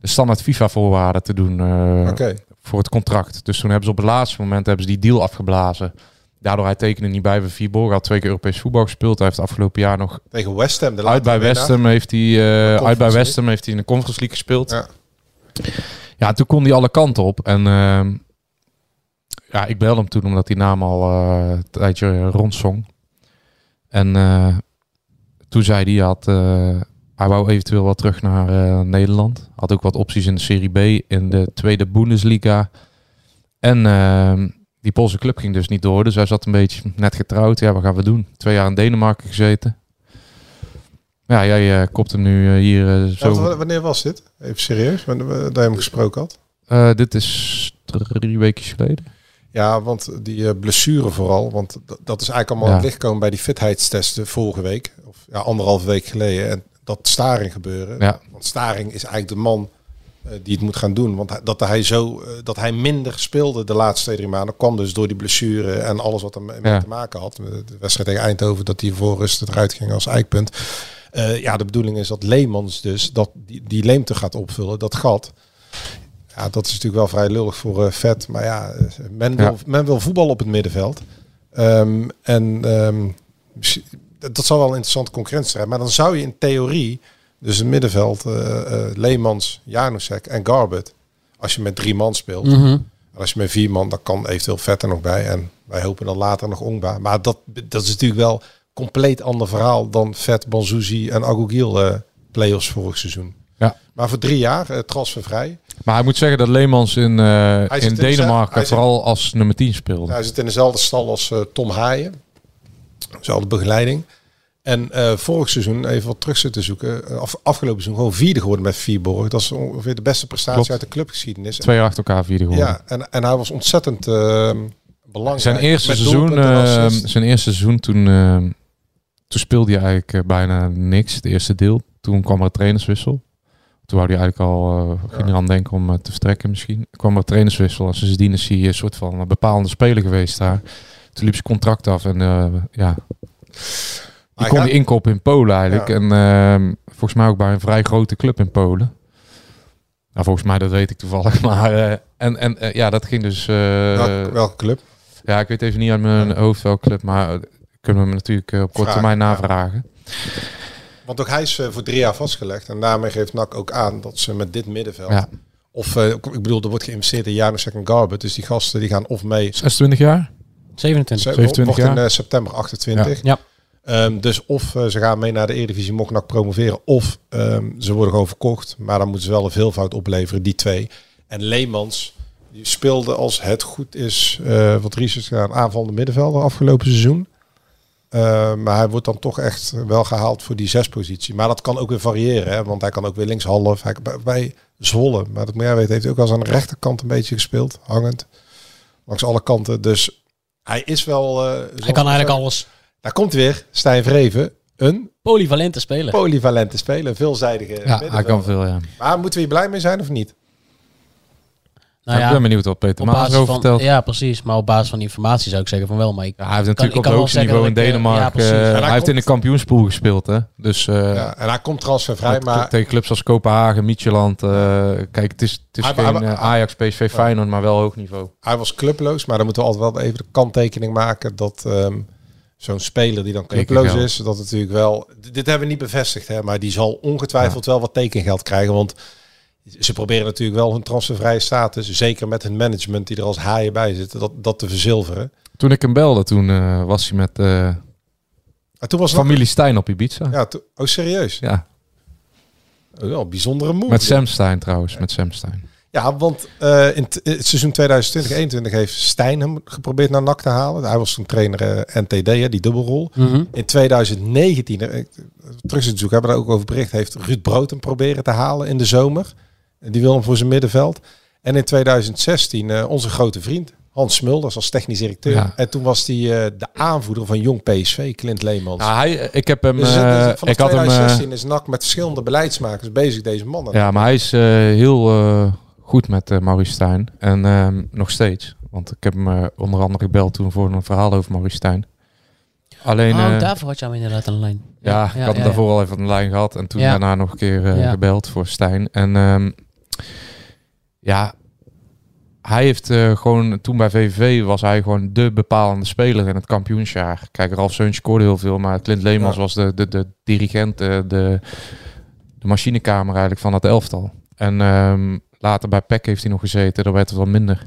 F: de standaard FIFA-voorwaarden te doen eh,
G: Oké.
F: voor het contract. Dus toen hebben ze op het laatste moment hebben ze die deal afgeblazen. Daardoor hij tekende niet bij bij Viborg. Hij had twee keer Europees voetbal gespeeld. Hij heeft afgelopen jaar nog
G: Tegen West Ham. De
F: uit bij West Ham heeft hij eh, uit bij
G: Conference
F: West Ham heeft hij in de Conference League gespeeld.
G: Ja.
F: Ja. toen kon hij alle kanten op en ehm, ja, ik belde hem toen omdat die naam al eh, een tijdje rondzong. En eh, toen zei hij had eh, hij wou eventueel wel terug naar eh, Nederland. Had ook wat opties in de Serie B in de tweede Bundesliga. En ehm, die Poolse club ging dus niet door. Dus hij zat een beetje net getrouwd. Ja, wat gaan we doen? Twee jaar in Denemarken gezeten. Ja, jij eh, kopt hem nu eh, hier eh, zo.
G: wanneer was dit? Even serieus, wanneer we- dat je hem gesproken had.
F: Eh, dit is drie weken geleden.
G: Ja, want die eh, blessure vooral. Want d- dat is eigenlijk allemaal
F: Ja.
G: aan het licht komen bij die fitheidstesten vorige week. Of ja, anderhalf week geleden. En dat Staring gebeuren.
F: Ja.
G: Want Staring is eigenlijk de man eh, die het moet gaan doen. Want hij- dat hij, zo, eh, dat hij minder speelde de laatste twee, drie maanden... kwam dus door die blessure en alles wat ermee
F: Ja.
G: te maken had. De wedstrijd tegen Eindhoven, dat hij voor rust eruit ging als eikpunt. Eh, ja, de bedoeling is dat Leemans dus dat die, die leemte gaat opvullen, dat gat. Ja, dat is natuurlijk wel vrij lullig voor eh, vet. Maar ja, eh, men wil,
F: Ja.
G: men wil voetbal op het middenveld. Ehm, en ehm, misschien- dat dat zal wel een interessante concurrentie zijn. Maar dan zou je in theorie, dus het middenveld, eh, eh, Leemans, Janusek en Garbert. Als je met drie man speelt.
E: Mhm.
G: En als je met vier man, dan kan eventueel vet er nog bij. En wij hopen dan later nog Ongba. Maar dat, dat is natuurlijk wel compleet ander verhaal dan vet, Banzuzi en Agogiel eh play-offs vorig seizoen.
F: Ja.
G: Maar voor drie jaar eh, transfervrij.
F: Maar hij moet zeggen dat Leemans in, eh,
G: zit
F: in
G: in de cel-
F: Denemarken
G: hij zit-
F: vooral als nummer 10 speelde.
G: Hij zit in dezelfde stal als eh, Tom Haaien. Dezelfde begeleiding. En eh, vorig seizoen, even wat terug zitten zoeken, eh, af, afgelopen seizoen gewoon vierde geworden met Vierborg. Dat is ongeveer de beste prestatie
F: Klopt.
G: uit de clubgeschiedenis.
F: Twee jaar achter elkaar vierde geworden.
G: Ja, en, en hij was ontzettend eh, belangrijk.
F: Zijn eerste
G: Met
F: seizoen,
G: doelpunten en
F: eh,
G: assists.
F: zijn eerste seizoen toen, eh, toen speelde hij eigenlijk eh, bijna niks, het eerste deel. Toen kwam er een trainerswissel. Toen wou hij eigenlijk al, eh, ging hij aan denken om eh, te vertrekken misschien. Er kwam er een trainerswissel en sindsdien is hij een soort van een bepalende speler geweest daar. Toen liep zijn contract af en eh, ja, die
G: Hij
F: kon
G: gaat-
F: die inkopen in Polen eigenlijk.
G: Ja.
F: En ehm, volgens mij ook bij een vrij grote club in Polen. Nou, volgens mij, dat weet ik toevallig. Maar, eh, en en eh, ja, dat ging dus... eh,
G: welke, welke club?
F: Ja, ik weet even niet uit mijn hoofd welke club, maar eh, kunnen we hem natuurlijk eh, op korte
G: Vragen,
F: termijn
G: ja.
F: navragen.
G: Want ook hij is eh, voor drie jaar vastgelegd. En daarmee geeft NAC ook aan dat ze met dit middenveld...
F: Ja.
G: Of, eh, ik bedoel, er wordt geïnvesteerd in Janusek en Garbutt. Dus die gasten die gaan of mee...
F: 26 jaar?
E: 27.
G: Ze
F: 27
G: wordt in
F: jaar.
G: eh, september 28.
E: Ja.
G: Ehm, dus of eh, ze gaan mee naar de Eredivisie, mocht NAC promoveren. Of ehm, ze worden gewoon verkocht. Maar dan moeten ze wel een veelvoud opleveren, die twee. En Leemans die speelde als het goed is, eh, wat Ries is gedaan, aanvallende middenvelder afgelopen seizoen. Eh, maar hij wordt dan toch echt wel gehaald voor die zespositie. Maar dat kan ook weer variëren, hè, want hij kan ook weer linkshalf. Hij, bij, bij Zwolle, maar dat moet jij weten, heeft hij ook wel eens aan de rechterkant een beetje gespeeld, hangend. Langs alle kanten. Dus hij is wel... eh,
E: Hij
G: zoals-
E: kan eigenlijk alles.
G: daar komt weer Stijn Vreven. Een
E: Polyvalente spelen.
G: polyvalente speler, een veelzijdige
F: Ja, hij
G: middenvelder.
F: kan veel, ja.
G: Maar moeten we hier blij mee zijn of niet?
E: nou
F: Ik
E: ja,
F: ben benieuwd wat Peter
E: op
F: Maas
E: basis
F: over
E: van,
F: vertelt.
E: ja, precies. Maar op basis van die informatie zou ik zeggen van wel. Maar ik,
F: Ja, hij heeft
E: kan- ik
F: natuurlijk
E: kan
F: op het
E: wel
F: hoogste
E: zeggen
F: niveau in
E: dat ik, eh, ja,
F: Denemarken.
E: precies.
F: eh,
E: En
G: hij
F: hij heeft in de
G: komt-
F: kampioenspool gespeeld, hè. Dus eh,
G: Ja, en hij komt transfervrij,
F: met-
G: maar
F: tegen clubs als Kopenhagen, Micheland. eh, kijk, het is, het is
G: Hij-
F: geen
G: hij-
F: eh, Ajax, PSV, Feyenoord, maar wel hoog niveau.
G: hij was clubloos. Maar dan moeten we altijd wel even de kanttekening maken dat ehm, zo'n speler die dan
F: Tekengeld.
G: clubloos is, dat het natuurlijk wel... D- Dit hebben we niet bevestigd, hè, maar die zal ongetwijfeld wel wat tekengeld krijgen. Want ze proberen natuurlijk wel hun transfervrije status, zeker met hun management die er als haaien bij zitten, dat, dat te verzilveren.
F: Toen ik hem belde, toen eh, was hij met eh,
G: En toen was het
F: familie Stijn op Ibiza. Ja.
G: Ja, toen- oh serieus? Oh, wel een bijzondere move.
F: Met
G: dit.
F: Sam Stijn trouwens, met Sam Stijn.
G: Ja, want eh, in t- in het seizoen 2020-21 heeft Stijn hem geprobeerd naar NAC te halen. Hij was toen trainer eh, NTD, hè, die dubbelrol.
E: Mhm.
G: In 2019, eh, ik- terug zit te zoeken, hebben we daar ook over bericht, heeft Ruud Brood hem proberen te halen in de zomer. En Die wil hem voor zijn middenveld. En in 2016 eh, onze grote vriend Hans Smulders als technisch directeur.
F: Ja.
G: En toen was hij eh, de aanvoerder van Jong PSV, Clint Leemans.
F: Ja, hij, eh, ik heb hem...
G: dus, het-
F: eh,
G: dus vanaf
F: ik had hem, eh,
G: 2016 is NAC met verschillende beleidsmakers bezig, deze mannen.
F: ja, maar hij is eh, heel eh, goed met eh Maurice Stijn. En ehm, nog steeds. Want ik heb hem eh, onder andere gebeld toen voor een verhaal over Maurice Stijn. Alleen...
E: Oh,
F: eh,
E: daarvoor had je hem inderdaad aan de lijn.
F: Ja, ik had hem daarvoor al even aan de lijn gehad. En toen
E: Ja.
F: daarna nog een keer eh,
E: Ja.
F: gebeld voor Stijn. En ehm, ja, hij heeft eh, gewoon... Toen bij VVV was hij gewoon de bepalende speler in het kampioensjaar. Kijk, Ralf Seuntje scoorde heel veel. Maar Clint Leemans
G: Ja.
F: was de, de, de dirigent, eh, de, de machinekamer eigenlijk van dat elftal. En ehm, later bij PEC heeft hij nog gezeten. Daar werd het wel minder.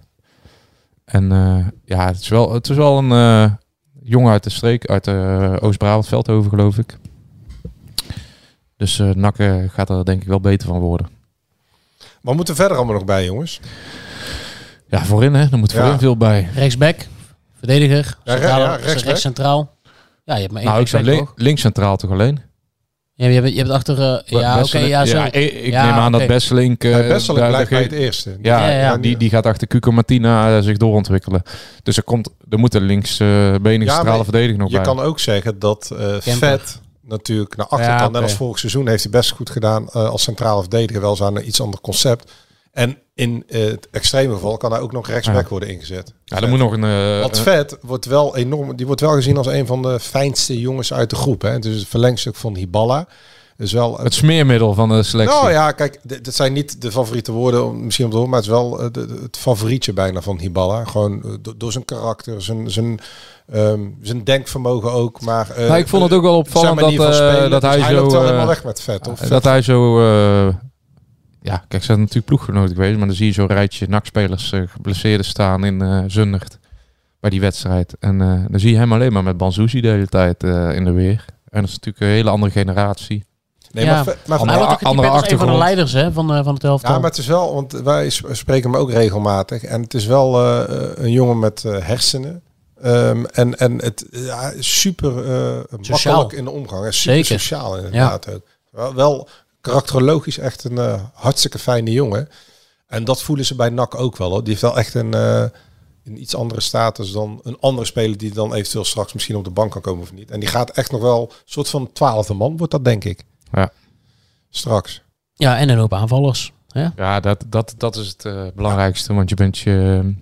F: En eh, ja, het is wel, het is wel een... eh, jongen uit de streek, uit eh, Oost-Brabant, Veldhoven geloof ik. Dus eh NAC eh, gaat er denk ik wel beter van worden.
G: Wat moeten we verder allemaal nog bij, jongens?
F: Ja, voorin hè, daar moet
G: Ja.
F: voorin veel bij.
E: Rechtsback, verdediger,
G: Ja, re-
E: centraal,
G: ja, rechtsback.
E: rechts centraal. Ja, je hebt maar één
F: nou, ik zou
E: rechtsback,
F: link
E: toch?
F: linkscentraal toch alleen?
E: Ja, je hebt, je hebt achter... eh, ja, oké,
F: Besselink-
E: ja,
F: ja,
E: sorry.
F: ik ik
E: Ja,
F: neem aan dat
E: oké.
F: Besselink... eh,
G: Hij best wel
F: daar- daar
G: blijft bij
F: ge-
G: het eerste.
F: ja,
E: Ja, ja.
F: Die, die gaat achter Cuco Martina eh, zich doorontwikkelen. Dus er, komt, er moet een linksbenige
G: Ja,
F: centrale
G: maar
F: verdediger nog
G: Je
F: bij.
G: kan ook zeggen dat eh Vet natuurlijk naar achter
F: Ja,
G: kan. Net
F: oké.
G: als vorig seizoen heeft hij best goed gedaan eh, als centrale verdediger. Wel eens aan een iets ander concept. En in eh, het extreme geval kan hij ook nog rechtsback worden ingezet.
F: ja, er moet nog een... eh,
G: Want
F: een-
G: Vet wordt wel enorm, die wordt wel gezien als een van de fijnste jongens uit de groep. Hè. Dus het verlengstuk van Hiballa. Dus wel
F: het smeermiddel van de selectie.
G: nou ja, kijk, dit- dat zijn niet de favoriete woorden om- misschien om te horen, maar het is wel eh, de- de- het favorietje bijna van Hiballa. Gewoon eh, do- door zijn karakter, zijn, zijn, ehm, zijn denkvermogen ook. Maar eh,
F: Nou, ik vond het ook wel
G: zijn
F: opvallend dat,
G: manier van
F: eh,
G: spelen.
F: dat
G: Dus
F: hij zo...
G: loopt wel
F: eh,
G: helemaal weg met vet, of?
F: En dat hij zo... eh, ja, kijk, ze zijn natuurlijk ploeggenoten geweest. Maar dan zie je zo'n rijtje nakspelers eh geblesseerd staan in eh Zundert. Bij die wedstrijd. En eh, dan zie je hem alleen maar met Banzuzi de hele tijd eh, in de weer. En dat is natuurlijk een hele andere generatie.
G: nee,
E: ja.
G: maar, Vet- maar,
E: Maar
G: van-
E: hij wordt
F: andere
E: ook getypeerd als dus een van de leiders
F: achtergrond.
E: hè, van, eh, van het elftal.
G: ja, maar het is wel, want wij s- spreken hem ook regelmatig. En het is wel eh, eh, een jongen met eh, hersenen. Ehm, en, en het ja, super eh,
E: Sociaal.
G: makkelijk in de omgang. En super
E: Zeker.
G: sociaal inderdaad ook. Wel, wel karakterologisch echt een eh, hartstikke fijne jongen. En dat voelen ze bij NAC ook wel. Hoor. Die heeft wel echt een, eh, een iets andere status dan een andere speler die dan eventueel straks misschien op de bank kan komen of niet. En die gaat echt nog wel een soort van twaalfde man wordt dat denk ik.
F: Ja.
G: Straks.
E: Ja, en een hoop aanvallers. hè?
F: Ja, dat, dat, dat is het eh, belangrijkste. Want je bent je...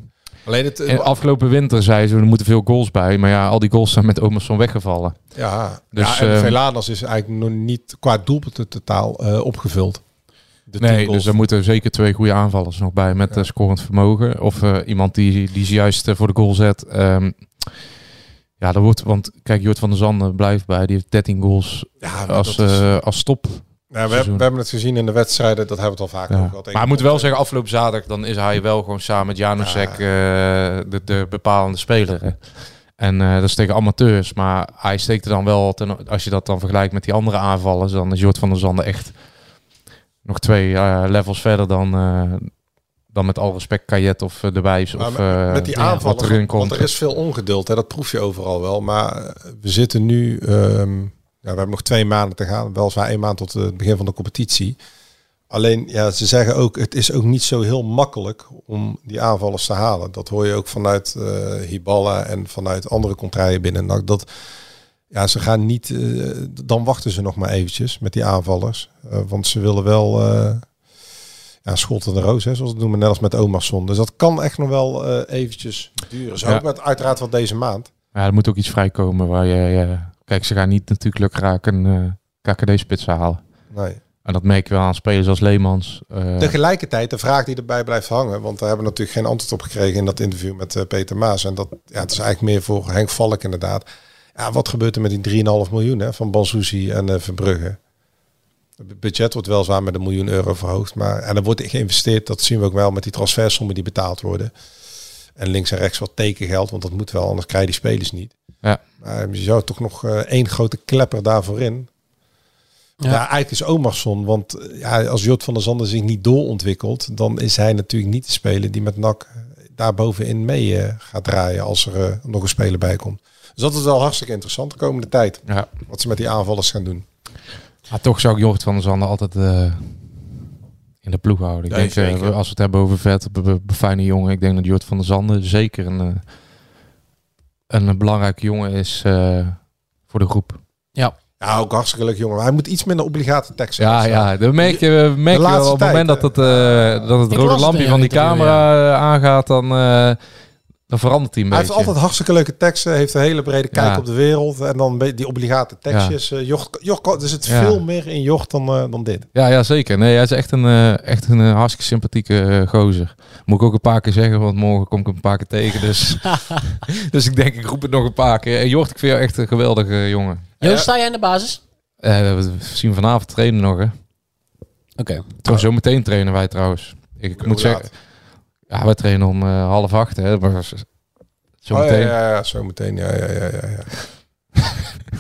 G: Alleen het... eh,
F: en afgelopen winter zei ze, er moeten veel goals bij. Maar ja, al die goals zijn met Omerson weggevallen.
G: Ja,
F: Dus,
G: ja en
F: ehm,
G: Velanas is eigenlijk nog niet qua doelpunten totaal eh, opgevuld. de tien
F: Nee,
G: goals.
F: dus er moeten zeker twee goede aanvallers nog bij met eh, scorend vermogen. Of eh, iemand die, die ze juist eh, voor de goal zet. Ehm, ja, dat wordt, want kijk, Jort van der Zanden blijft bij. Die heeft 13 goals
G: ja, maar
F: als,
G: dat is-
F: eh, als top.
G: nou, we, hebben, we hebben het gezien in de wedstrijden, dat hebben we het al vaak
F: Ja.
G: over gehad.
F: Maar ik moet wel zeggen, afgelopen zaterdag dan is hij wel gewoon samen met Janusek eh, de, de bepalende speler. hè. En eh, dat is tegen amateurs. Maar hij steekt er dan wel, ten, als je dat dan vergelijkt met die andere aanvallers, dan is Jort van der Zanden echt nog twee eh, levels verder dan, eh, dan met al respect Kajet of eh, de Wijs.
G: Maar
F: of,
G: met,
F: eh,
G: met die
F: ja,
G: aanvallen,
F: wat erin
G: want
F: komt.
G: er is veel ongeduld. Hè, dat proef je overal wel. Maar eh, we zitten nu... ehm, ja, we hebben nog twee maanden te gaan. Weliswaar één maand tot eh, het begin van de competitie. Alleen, ja, ze zeggen ook... Het is ook niet zo heel makkelijk om die aanvallers te halen. Dat hoor je ook vanuit eh Hiballa en vanuit andere contraien binnen NAC. Dat... Ja, ze gaan niet... eh, dan wachten ze nog maar eventjes met die aanvallers. Eh, want ze willen wel... eh, ja, schot en de roos, hè, zoals we het noemen, net als met Omarsson. Dus dat kan echt nog wel eh, eventjes duren. Zo
F: Ja.
G: ook met uiteraard wel deze maand.
F: Ja, er moet ook iets vrijkomen waar je... eh, kijk, ze gaan niet natuurlijk lukraak een eh, KKD-spits halen.
G: Nee.
F: En dat merk je wel aan spelers als Leemans. eh,
G: Tegelijkertijd de vraag die erbij blijft hangen, want daar hebben we natuurlijk geen antwoord op gekregen in dat interview met eh, Peter Maas. En dat ja, het is eigenlijk meer voor Henk Valk inderdaad. Ja, wat gebeurt er met die 3,5 miljoen hè, van Bansuzi en eh, Verbrugge? Het budget wordt wel zwaar met een miljoen euro verhoogd. Maar, en er wordt in geïnvesteerd, dat zien we ook wel met die transfersommen die betaald worden. En links en rechts wat tekengeld, want dat moet wel, anders krijg je die spelers niet.
F: Ja.
G: Maar je zou toch nog eh, één grote klepper daarvoor in. Ja.
E: Ja.
G: eigenlijk is Omarsson, want eh, ja, als Jot van der Zanden zich niet doorontwikkelt, dan is hij natuurlijk niet de speler die met NAC daarbovenin mee eh, gaat draaien als er eh, nog een speler bij komt. Dus dat is wel hartstikke interessant de komende tijd,
F: ja,
G: wat ze met die aanvallers gaan doen.
F: Maar toch zou ik Jort van der Zanden altijd eh, in de ploeg houden. Ik
G: Nee,
F: denk, eh,
G: zeker.
F: als we het hebben over vet, be- be- be- fijne jongen. Ik denk dat Jort van der Zanden zeker een, eh, een, belangrijke jongen is eh, voor de groep.
G: Ja, ook hartstikke leuk jongen. Maar hij moet iets minder obligate teksten.
F: Ja,
G: gaan staan.
F: ja. Dan merk je, eh, merk
G: de
F: je wel
G: laatste
F: op het moment
G: tijd,
F: dat het, eh, dat het
E: Ik las
F: rode
E: het
F: lampje
E: in
F: van
E: een
F: die
E: interview,
F: camera eh, aangaat, dan, eh, dan verandert hij een
G: Hij heeft
F: beetje.
G: altijd hartstikke leuke teksten, heeft een hele brede kijk
F: Ja.
G: op de wereld. En dan een beetje die obligate tekstjes. Eh, Jocht, Jocht, er zit
F: Ja.
G: veel meer in Jocht dan, eh, dan dit.
F: Ja, ja, zeker. Nee, hij is echt een, eh, echt een eh, hartstikke sympathieke eh, gozer. Moet ik ook een paar keer zeggen, want morgen kom ik hem een paar keer tegen. Dus, dus ik denk, ik roep het nog een paar keer. En Jort, ik vind jou echt een geweldige eh, jongen.
E: Joost, sta jij in de basis?
F: Eh, we zien vanavond trainen nog, hè.
E: Oké.
F: Trouwens, zo meteen trainen wij trouwens. Ik moet
G: Hoe laat?
F: zeggen, ja, wij trainen om eh, half acht, hè. Maar z- zo
G: Oh, ja,
F: meteen.
G: ja, ja, zo meteen. Ja, ja, ja, ja. ja.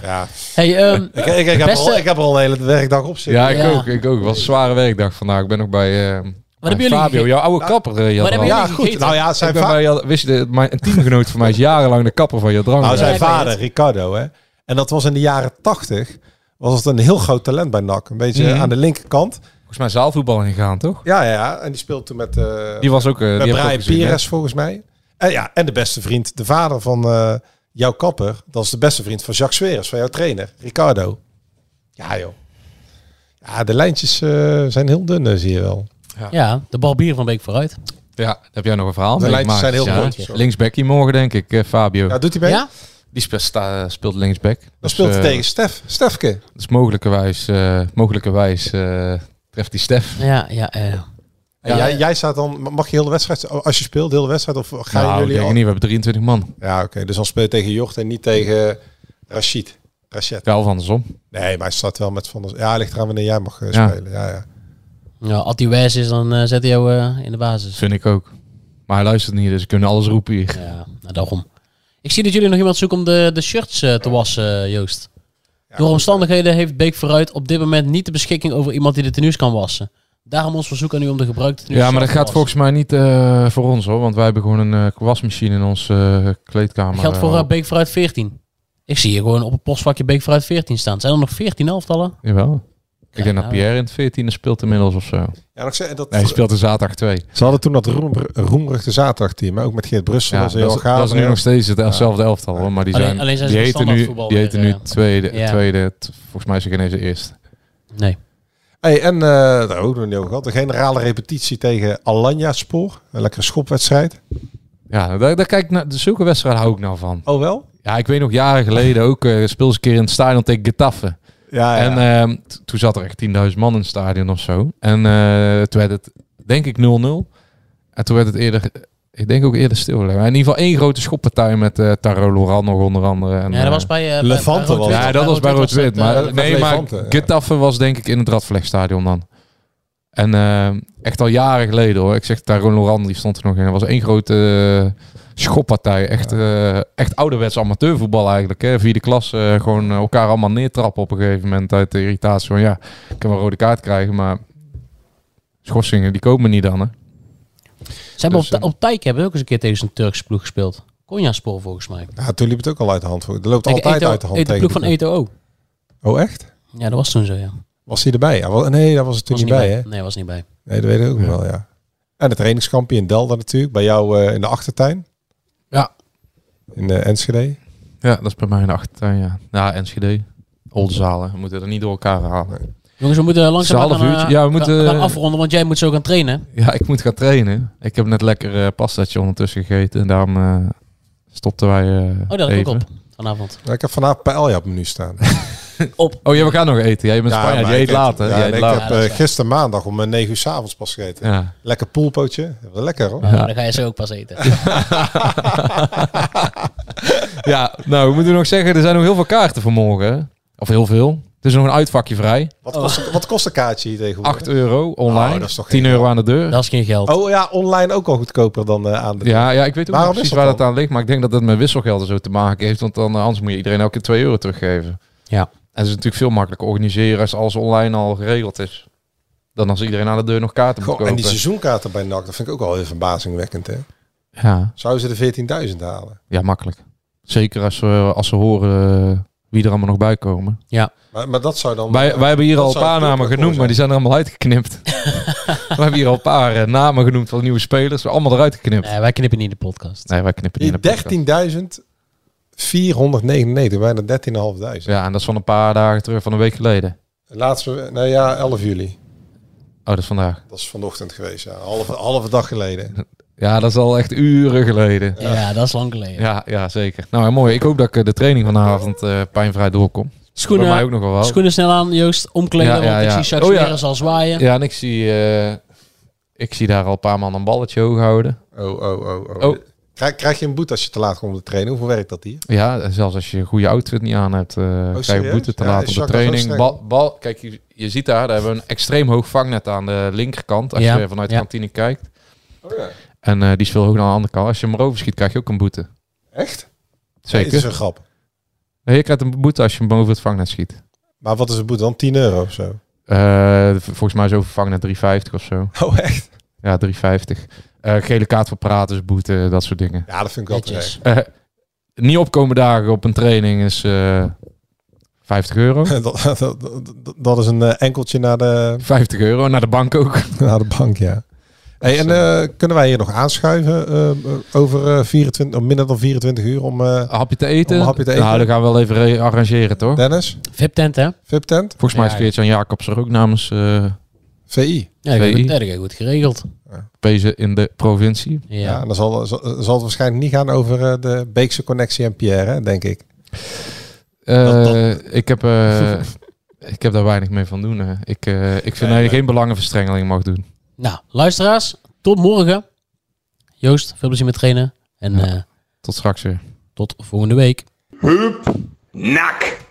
G: ja.
E: Hey, ehm,
G: Ik, ik, ik, heb
E: Beste-
G: al, ik heb er al een hele werkdag op zitten.
F: Ja, ik
E: Ja.
F: ook. Ik ook. Het was een zware werkdag vandaag. Ik ben nog bij, eh, bij
E: hebben jullie
F: Fabio,
E: gegeten?
F: jouw oude kapper. eh, Jadran.
E: hebben
G: Ja,
E: jullie
G: goed.
E: gegeten?
G: Nou ja,
F: Ik
G: zijn,
F: ben
G: va-
F: bij Jad- wist je, dit, mijn, een teamgenoot van mij is jarenlang de kapper van Jadran.
G: nou, zijn
E: Ja, ik
G: vader,
E: weet
G: Ricardo, hè. En dat was in de jaren tachtig. Was het een heel groot talent bij NAC. Een beetje
F: Mhm.
G: aan de linkerkant.
F: Volgens mij zaalvoetbal ingegaan, toch?
G: Ja, ja, ja. En die speelde toen met... eh,
F: Die was ook... eh,
G: Met
F: die heb ik
G: Brian
F: ook gezien, hè?
G: Pires volgens mij. En, ja, en de beste vriend, de vader van eh, jouw kapper. Dat is de beste vriend van Jacques Sweres, van jouw trainer, Ricardo. Ja joh. Ja, de lijntjes eh, zijn heel dun, eh, zie je wel.
E: ja, de barbier van Beek vooruit.
F: Ja, daar heb jij nog een verhaal
G: De
F: mee
G: lijntjes
F: gemaakt,
G: zijn heel
F: ja.
G: kort, sorry.
F: Linksbackie morgen, denk ik, eh, Fabio.
G: Ja, doet hij mee?
E: Ja?
F: Die spe- sta- speelt linksback.
G: Dan speelt hij
F: eh,
G: tegen Stef. Stefke.
F: Dus mogelijkerwijs, eh, mogelijkerwijs eh, treft die Stef.
E: Ja, ja, eh.
G: En jij, jij staat dan, mag je heel de wedstrijd, als je speelt, heel de wedstrijd, of gaan
F: nou, ik
G: jullie
F: denk
G: al-
F: niet. We hebben 23 man.
G: Ja, oké. Dus dan speel je tegen Jocht en niet tegen Rashid. Rashid.
F: Ja, of andersom.
G: Nee, maar hij staat wel met Van der... Ja, ligt eraan wanneer jij mag eh,
F: Ja.
G: spelen. Ja, ja.
E: Nou, als die wijs is, dan eh, zet hij jou eh, in de basis.
F: Vind ik ook. Maar hij luistert niet, dus we kunnen alles roepen hier.
E: Ja, nou, daarom. Ik zie dat jullie nog iemand zoeken om de, de shirts eh, te wassen, eh, Joost. Door omstandigheden
G: eh.
E: heeft Beek vooruit op dit moment niet de beschikking over iemand die de tenues kan wassen. Daarom ons verzoek aan u om de gebruikte tenues
F: Ja, maar dat
E: zelf
F: gaat
E: te wassen.
F: volgens mij niet eh, voor ons hoor. Want wij hebben gewoon een eh, wasmachine in onze eh, kleedkamer.
E: Dat geldt voor
F: eh,
E: eh, Beek vooruit 14. Ik zie hier gewoon op het postvakje Beek vooruit 14 staan. Zijn er nog 14 elftallen?
F: Jawel. Ik denk dat
E: nou.
F: Pierre in het 14e speelt inmiddels of zo.
G: Ja, nog ze- dat,
F: Nee, hij speelt dus- er zaterdag 2.
G: Ze hadden toen dat roemr- roemruchte zaterdagteam, maar ook met Geert Brussel.
F: Ja,
G: was
F: dat,
G: heel
F: is,
G: gaaf.
F: dat is nu nog steeds hetzelfde elftal hoor. Maar die
E: Alleen-
F: zijn,
E: alleen zijn ze
F: die
E: met
F: heten nu,
E: standaardvoetbal
F: die heten
E: weer,
F: nu
E: ja.
F: tweede,
E: Ja.
F: tweede. t- Volgens mij is er geen eens de eerste.
E: Nee.
G: Hey, en eh daar hebben we ook nog niet over gehad. De generale repetitie tegen Alanya Spoor. Een lekkere schopwedstrijd.
F: Ja, daar, daar kijk ik naar, zulke wedstrijden hou ik nou van.
G: Oh wel?
F: Ja, ik weet nog jaren geleden ook, eh speel eens een keer in het stadion tegen Getafe.
G: Ah, Ja, ja.
F: En ehm, t- toen zat er echt 10.000 man in het stadion of zo. En eh, toen werd het, denk ik, 0-0. En toen werd het eerder, ik denk ook eerder stilgelegd. Maar in ieder geval één grote schoppartij met eh Taro Loran nog onder andere. En,
E: Ja, dat
F: eh,
E: was bij... eh, bij-
G: Levante
E: bij Rood-Wit
G: was het.
F: ja, dat was bij
E: Rood-Wit
F: Rood-Wit.
E: was het,
F: Maar,
E: eh,
F: nee,
G: met
F: maar
G: Levante, ja.
F: Getafe was denk ik in het Radvlegstadion dan. En eh, echt al jaren geleden hoor. Ik zeg Tyrone Loran, die stond er nog in. Dat was één grote eh, schoppartij. Echt, eh, echt ouderwets amateurvoetbal eigenlijk. Hè? Vierde klas, eh, gewoon elkaar allemaal neertrappen op een gegeven moment. Uit de irritatie van ja, ik kan wel een rode kaart krijgen, maar... Schorsingen, die komen niet dan, hè?
E: Ze hebben
F: Dus,
E: op, op Tijk hebben we ook eens een keer tegen zo'n Turks ploeg gespeeld. Konyaspor volgens mij.
G: Ja, toen liep het ook al uit de hand. Het loopt
E: Tegen
G: altijd
E: Eto-
G: uit de hand
E: Eto-
G: tegen
E: ploeg
G: die
E: van Eto ook.
G: ploeg. Oh, echt?
E: Ja, dat was toen zo, ja.
G: Was hij erbij? Ja, wel- nee, daar was het toen
E: Was
G: niet bij, hè?
E: Nee, was niet bij.
G: Nee, dat weet ik ook nog wel, ja. En het trainingskampje in Delda natuurlijk. Bij jou eh, in de achtertuin.
F: Ja.
G: In eh, Enschede.
F: Ja, dat is bij mij in de achtertuin, ja. Ja, Enschede. Oldenzalen. We moeten er niet door elkaar halen.
E: Jongens, we moeten langzaam
F: Het is een half
E: gaan, eh,
F: uurtje. Ja, we moeten-
E: gaan afronden, want jij moet zo gaan trainen.
F: Ja, ik moet gaan trainen. Ik heb net lekker eh pastaatje ondertussen gegeten. En daarom eh, stopten wij eh,
E: Oh, dat heb ik
F: even.
E: ook op vanavond.
G: Nou, ik heb vanavond paella op het menu staan.
F: Oh, ja, we gaan nog eten. Jij bent
G: Ja,
F: Spanjaard.
G: maar
F: Je
G: ik
F: eet
G: heb-
F: later.
G: ja,
F: Jij
G: en
F: eet
G: ik
F: later.
G: heb eh, gisteren maandag om eh, 9 uur s'avonds pas gegeten.
F: Ja.
G: Lekker poelpootje. Dat was Lekker hoor.
E: Maar dan ga je zo ook pas eten.
F: ja, nou, we moeten nog zeggen, er zijn nog heel veel kaarten voor morgen. hè? Of heel veel. Er is nog een uitvakje vrij.
G: Wat, kost, wat kost een kaartje hier tegenwoordig?
F: 8 euro online.
G: Oh, dat is toch
F: 10
G: geen
F: euro aan de deur.
E: dat is geen geld.
G: Oh ja, online ook al goedkoper dan eh, aan de...
F: Ja, ja, ik weet ook
G: Waarom
F: niet precies
G: is dat
F: waar dat
G: dan?
F: aan ligt. Maar ik denk dat dat met wisselgelden zo te maken heeft. Want dan, eh, anders moet je iedereen elke keer 2 euro teruggeven.
E: Ja.
F: En het is natuurlijk veel makkelijker organiseren als alles online al geregeld is. Dan als iedereen aan de deur nog kaarten moet
G: Goh,
F: kopen.
G: en die seizoenkaarten bij NAC, dat vind ik ook al heel verbazingwekkend. Hè?
F: ja.
G: Zouden ze de 14.000 halen?
F: Ja, makkelijk. Zeker als ze, als ze horen eh, wie er allemaal nog bij komen.
G: Maar, maar dat zou dan... eh,
F: Wij, wij hebben hier
G: dat
F: al een
G: zou
F: paar
G: heel
F: namen
G: erg
F: genoemd,
G: mooi
F: maar die zijn er allemaal uitgeknipt. we hebben hier al een paar eh, namen genoemd van nieuwe spelers. We allemaal eruit geknipt.
E: Nee, wij knippen niet in de podcast.
F: Nee, wij knippen niet. in de podcast.
G: zijn. 13.499, bijna 13.500.
F: Ja, en dat is van een paar dagen terug, van een week geleden.
G: Laatste, nou ja, 11 juli.
F: Oh, dat is vandaag.
G: Dat is vanochtend geweest, ja. Halve, halve dag geleden.
F: Ja, dat is al echt uren geleden.
E: Ja, dat is lang geleden.
F: Ja, ja, zeker. Nou, en mooi. Ik hoop dat ik eh, de training vanavond eh, pijnvrij doorkom. Bij mij ook
E: Schoenen,
F: nog wel. wat.
E: schoenen snel aan, Joost. Omkleden,
F: Ja, ja,
E: want ik
F: ja.
E: zie Jacques
F: Oh, ja.
E: Smeres al zwaaien.
F: Ja, en ik zie, eh, ik zie daar al een paar man een balletje hoog houden.
G: Oh, oh, oh, oh.
F: Oh.
G: Krijg, krijg je een boete als je te laat komt om te trainen? Hoeveel werkt dat hier?
F: Ja, en zelfs als je een goede outfit niet aan hebt, eh krijg je
G: Oh, serieus?
F: boete te
G: Ja,
F: laten
G: is
F: op de
G: Jacques zo
F: training.
G: streng?
F: Bal, bal, kijk, je, je ziet daar, daar hebben we een extreem hoog vangnet aan de linkerkant. Als
E: Ja,
F: je vanuit
E: ja.
F: de kantine kijkt.
G: Oh ja.
F: En eh, die is veel hoger dan aan de andere kant. Als je hem erover schiet, krijg je ook een boete.
G: Echt?
F: Zeker.
G: Het is een grap.
F: Nee, je krijgt een boete als je hem boven het vangnet schiet.
G: Maar wat is een boete dan? 10 euro of zo?
F: Eh, v- volgens mij is over vangnet 3,50 of zo.
G: Oh, echt?
F: Ja, 3,50. Eh, gele kaart voor praten is boete, dat soort dingen.
G: Ja, dat vind ik wel
E: Netjes.
G: terecht.
F: Eh, niet opkomen dagen op een training is eh 50 euro.
G: Dat, dat, dat, dat is een eh, enkeltje naar de,
F: 50 euro, naar de bank ook.
G: naar de bank, ja. Hey, en eh, kunnen wij hier nog aanschuiven eh, over eh, 24, of minder dan 24 uur om eh,
F: Een hapje te eten.
G: Om een hapje te eten.
F: Nou, dat gaan we wel even re- arrangeren, toch?
G: Dennis,
E: VIP-tent, hè?
G: VIP tent,
F: Volgens mij is
E: Ja.
F: Geert-Jan Jacobs er ook namens eh
G: VI.
E: Ja, dat heb
F: VI.
E: ik- dat heb ik goed geregeld.
F: Pezen in de provincie.
E: Ja.
G: Ja, en dan zal, zal, zal het waarschijnlijk niet gaan over eh, de Beekse connectie en Pierre, hè, denk ik.
F: Eh,
G: Dat-
F: Ik, heb, eh, ik heb daar weinig mee van doen. hè. Ik, eh, ik vind dat je geen belangenverstrengeling mag doen.
E: Nou, luisteraars, tot morgen. Joost, veel plezier met trainen. En
F: Ja.
E: eh,
F: Tot straks weer.
E: tot volgende week.
C: Hup, nak.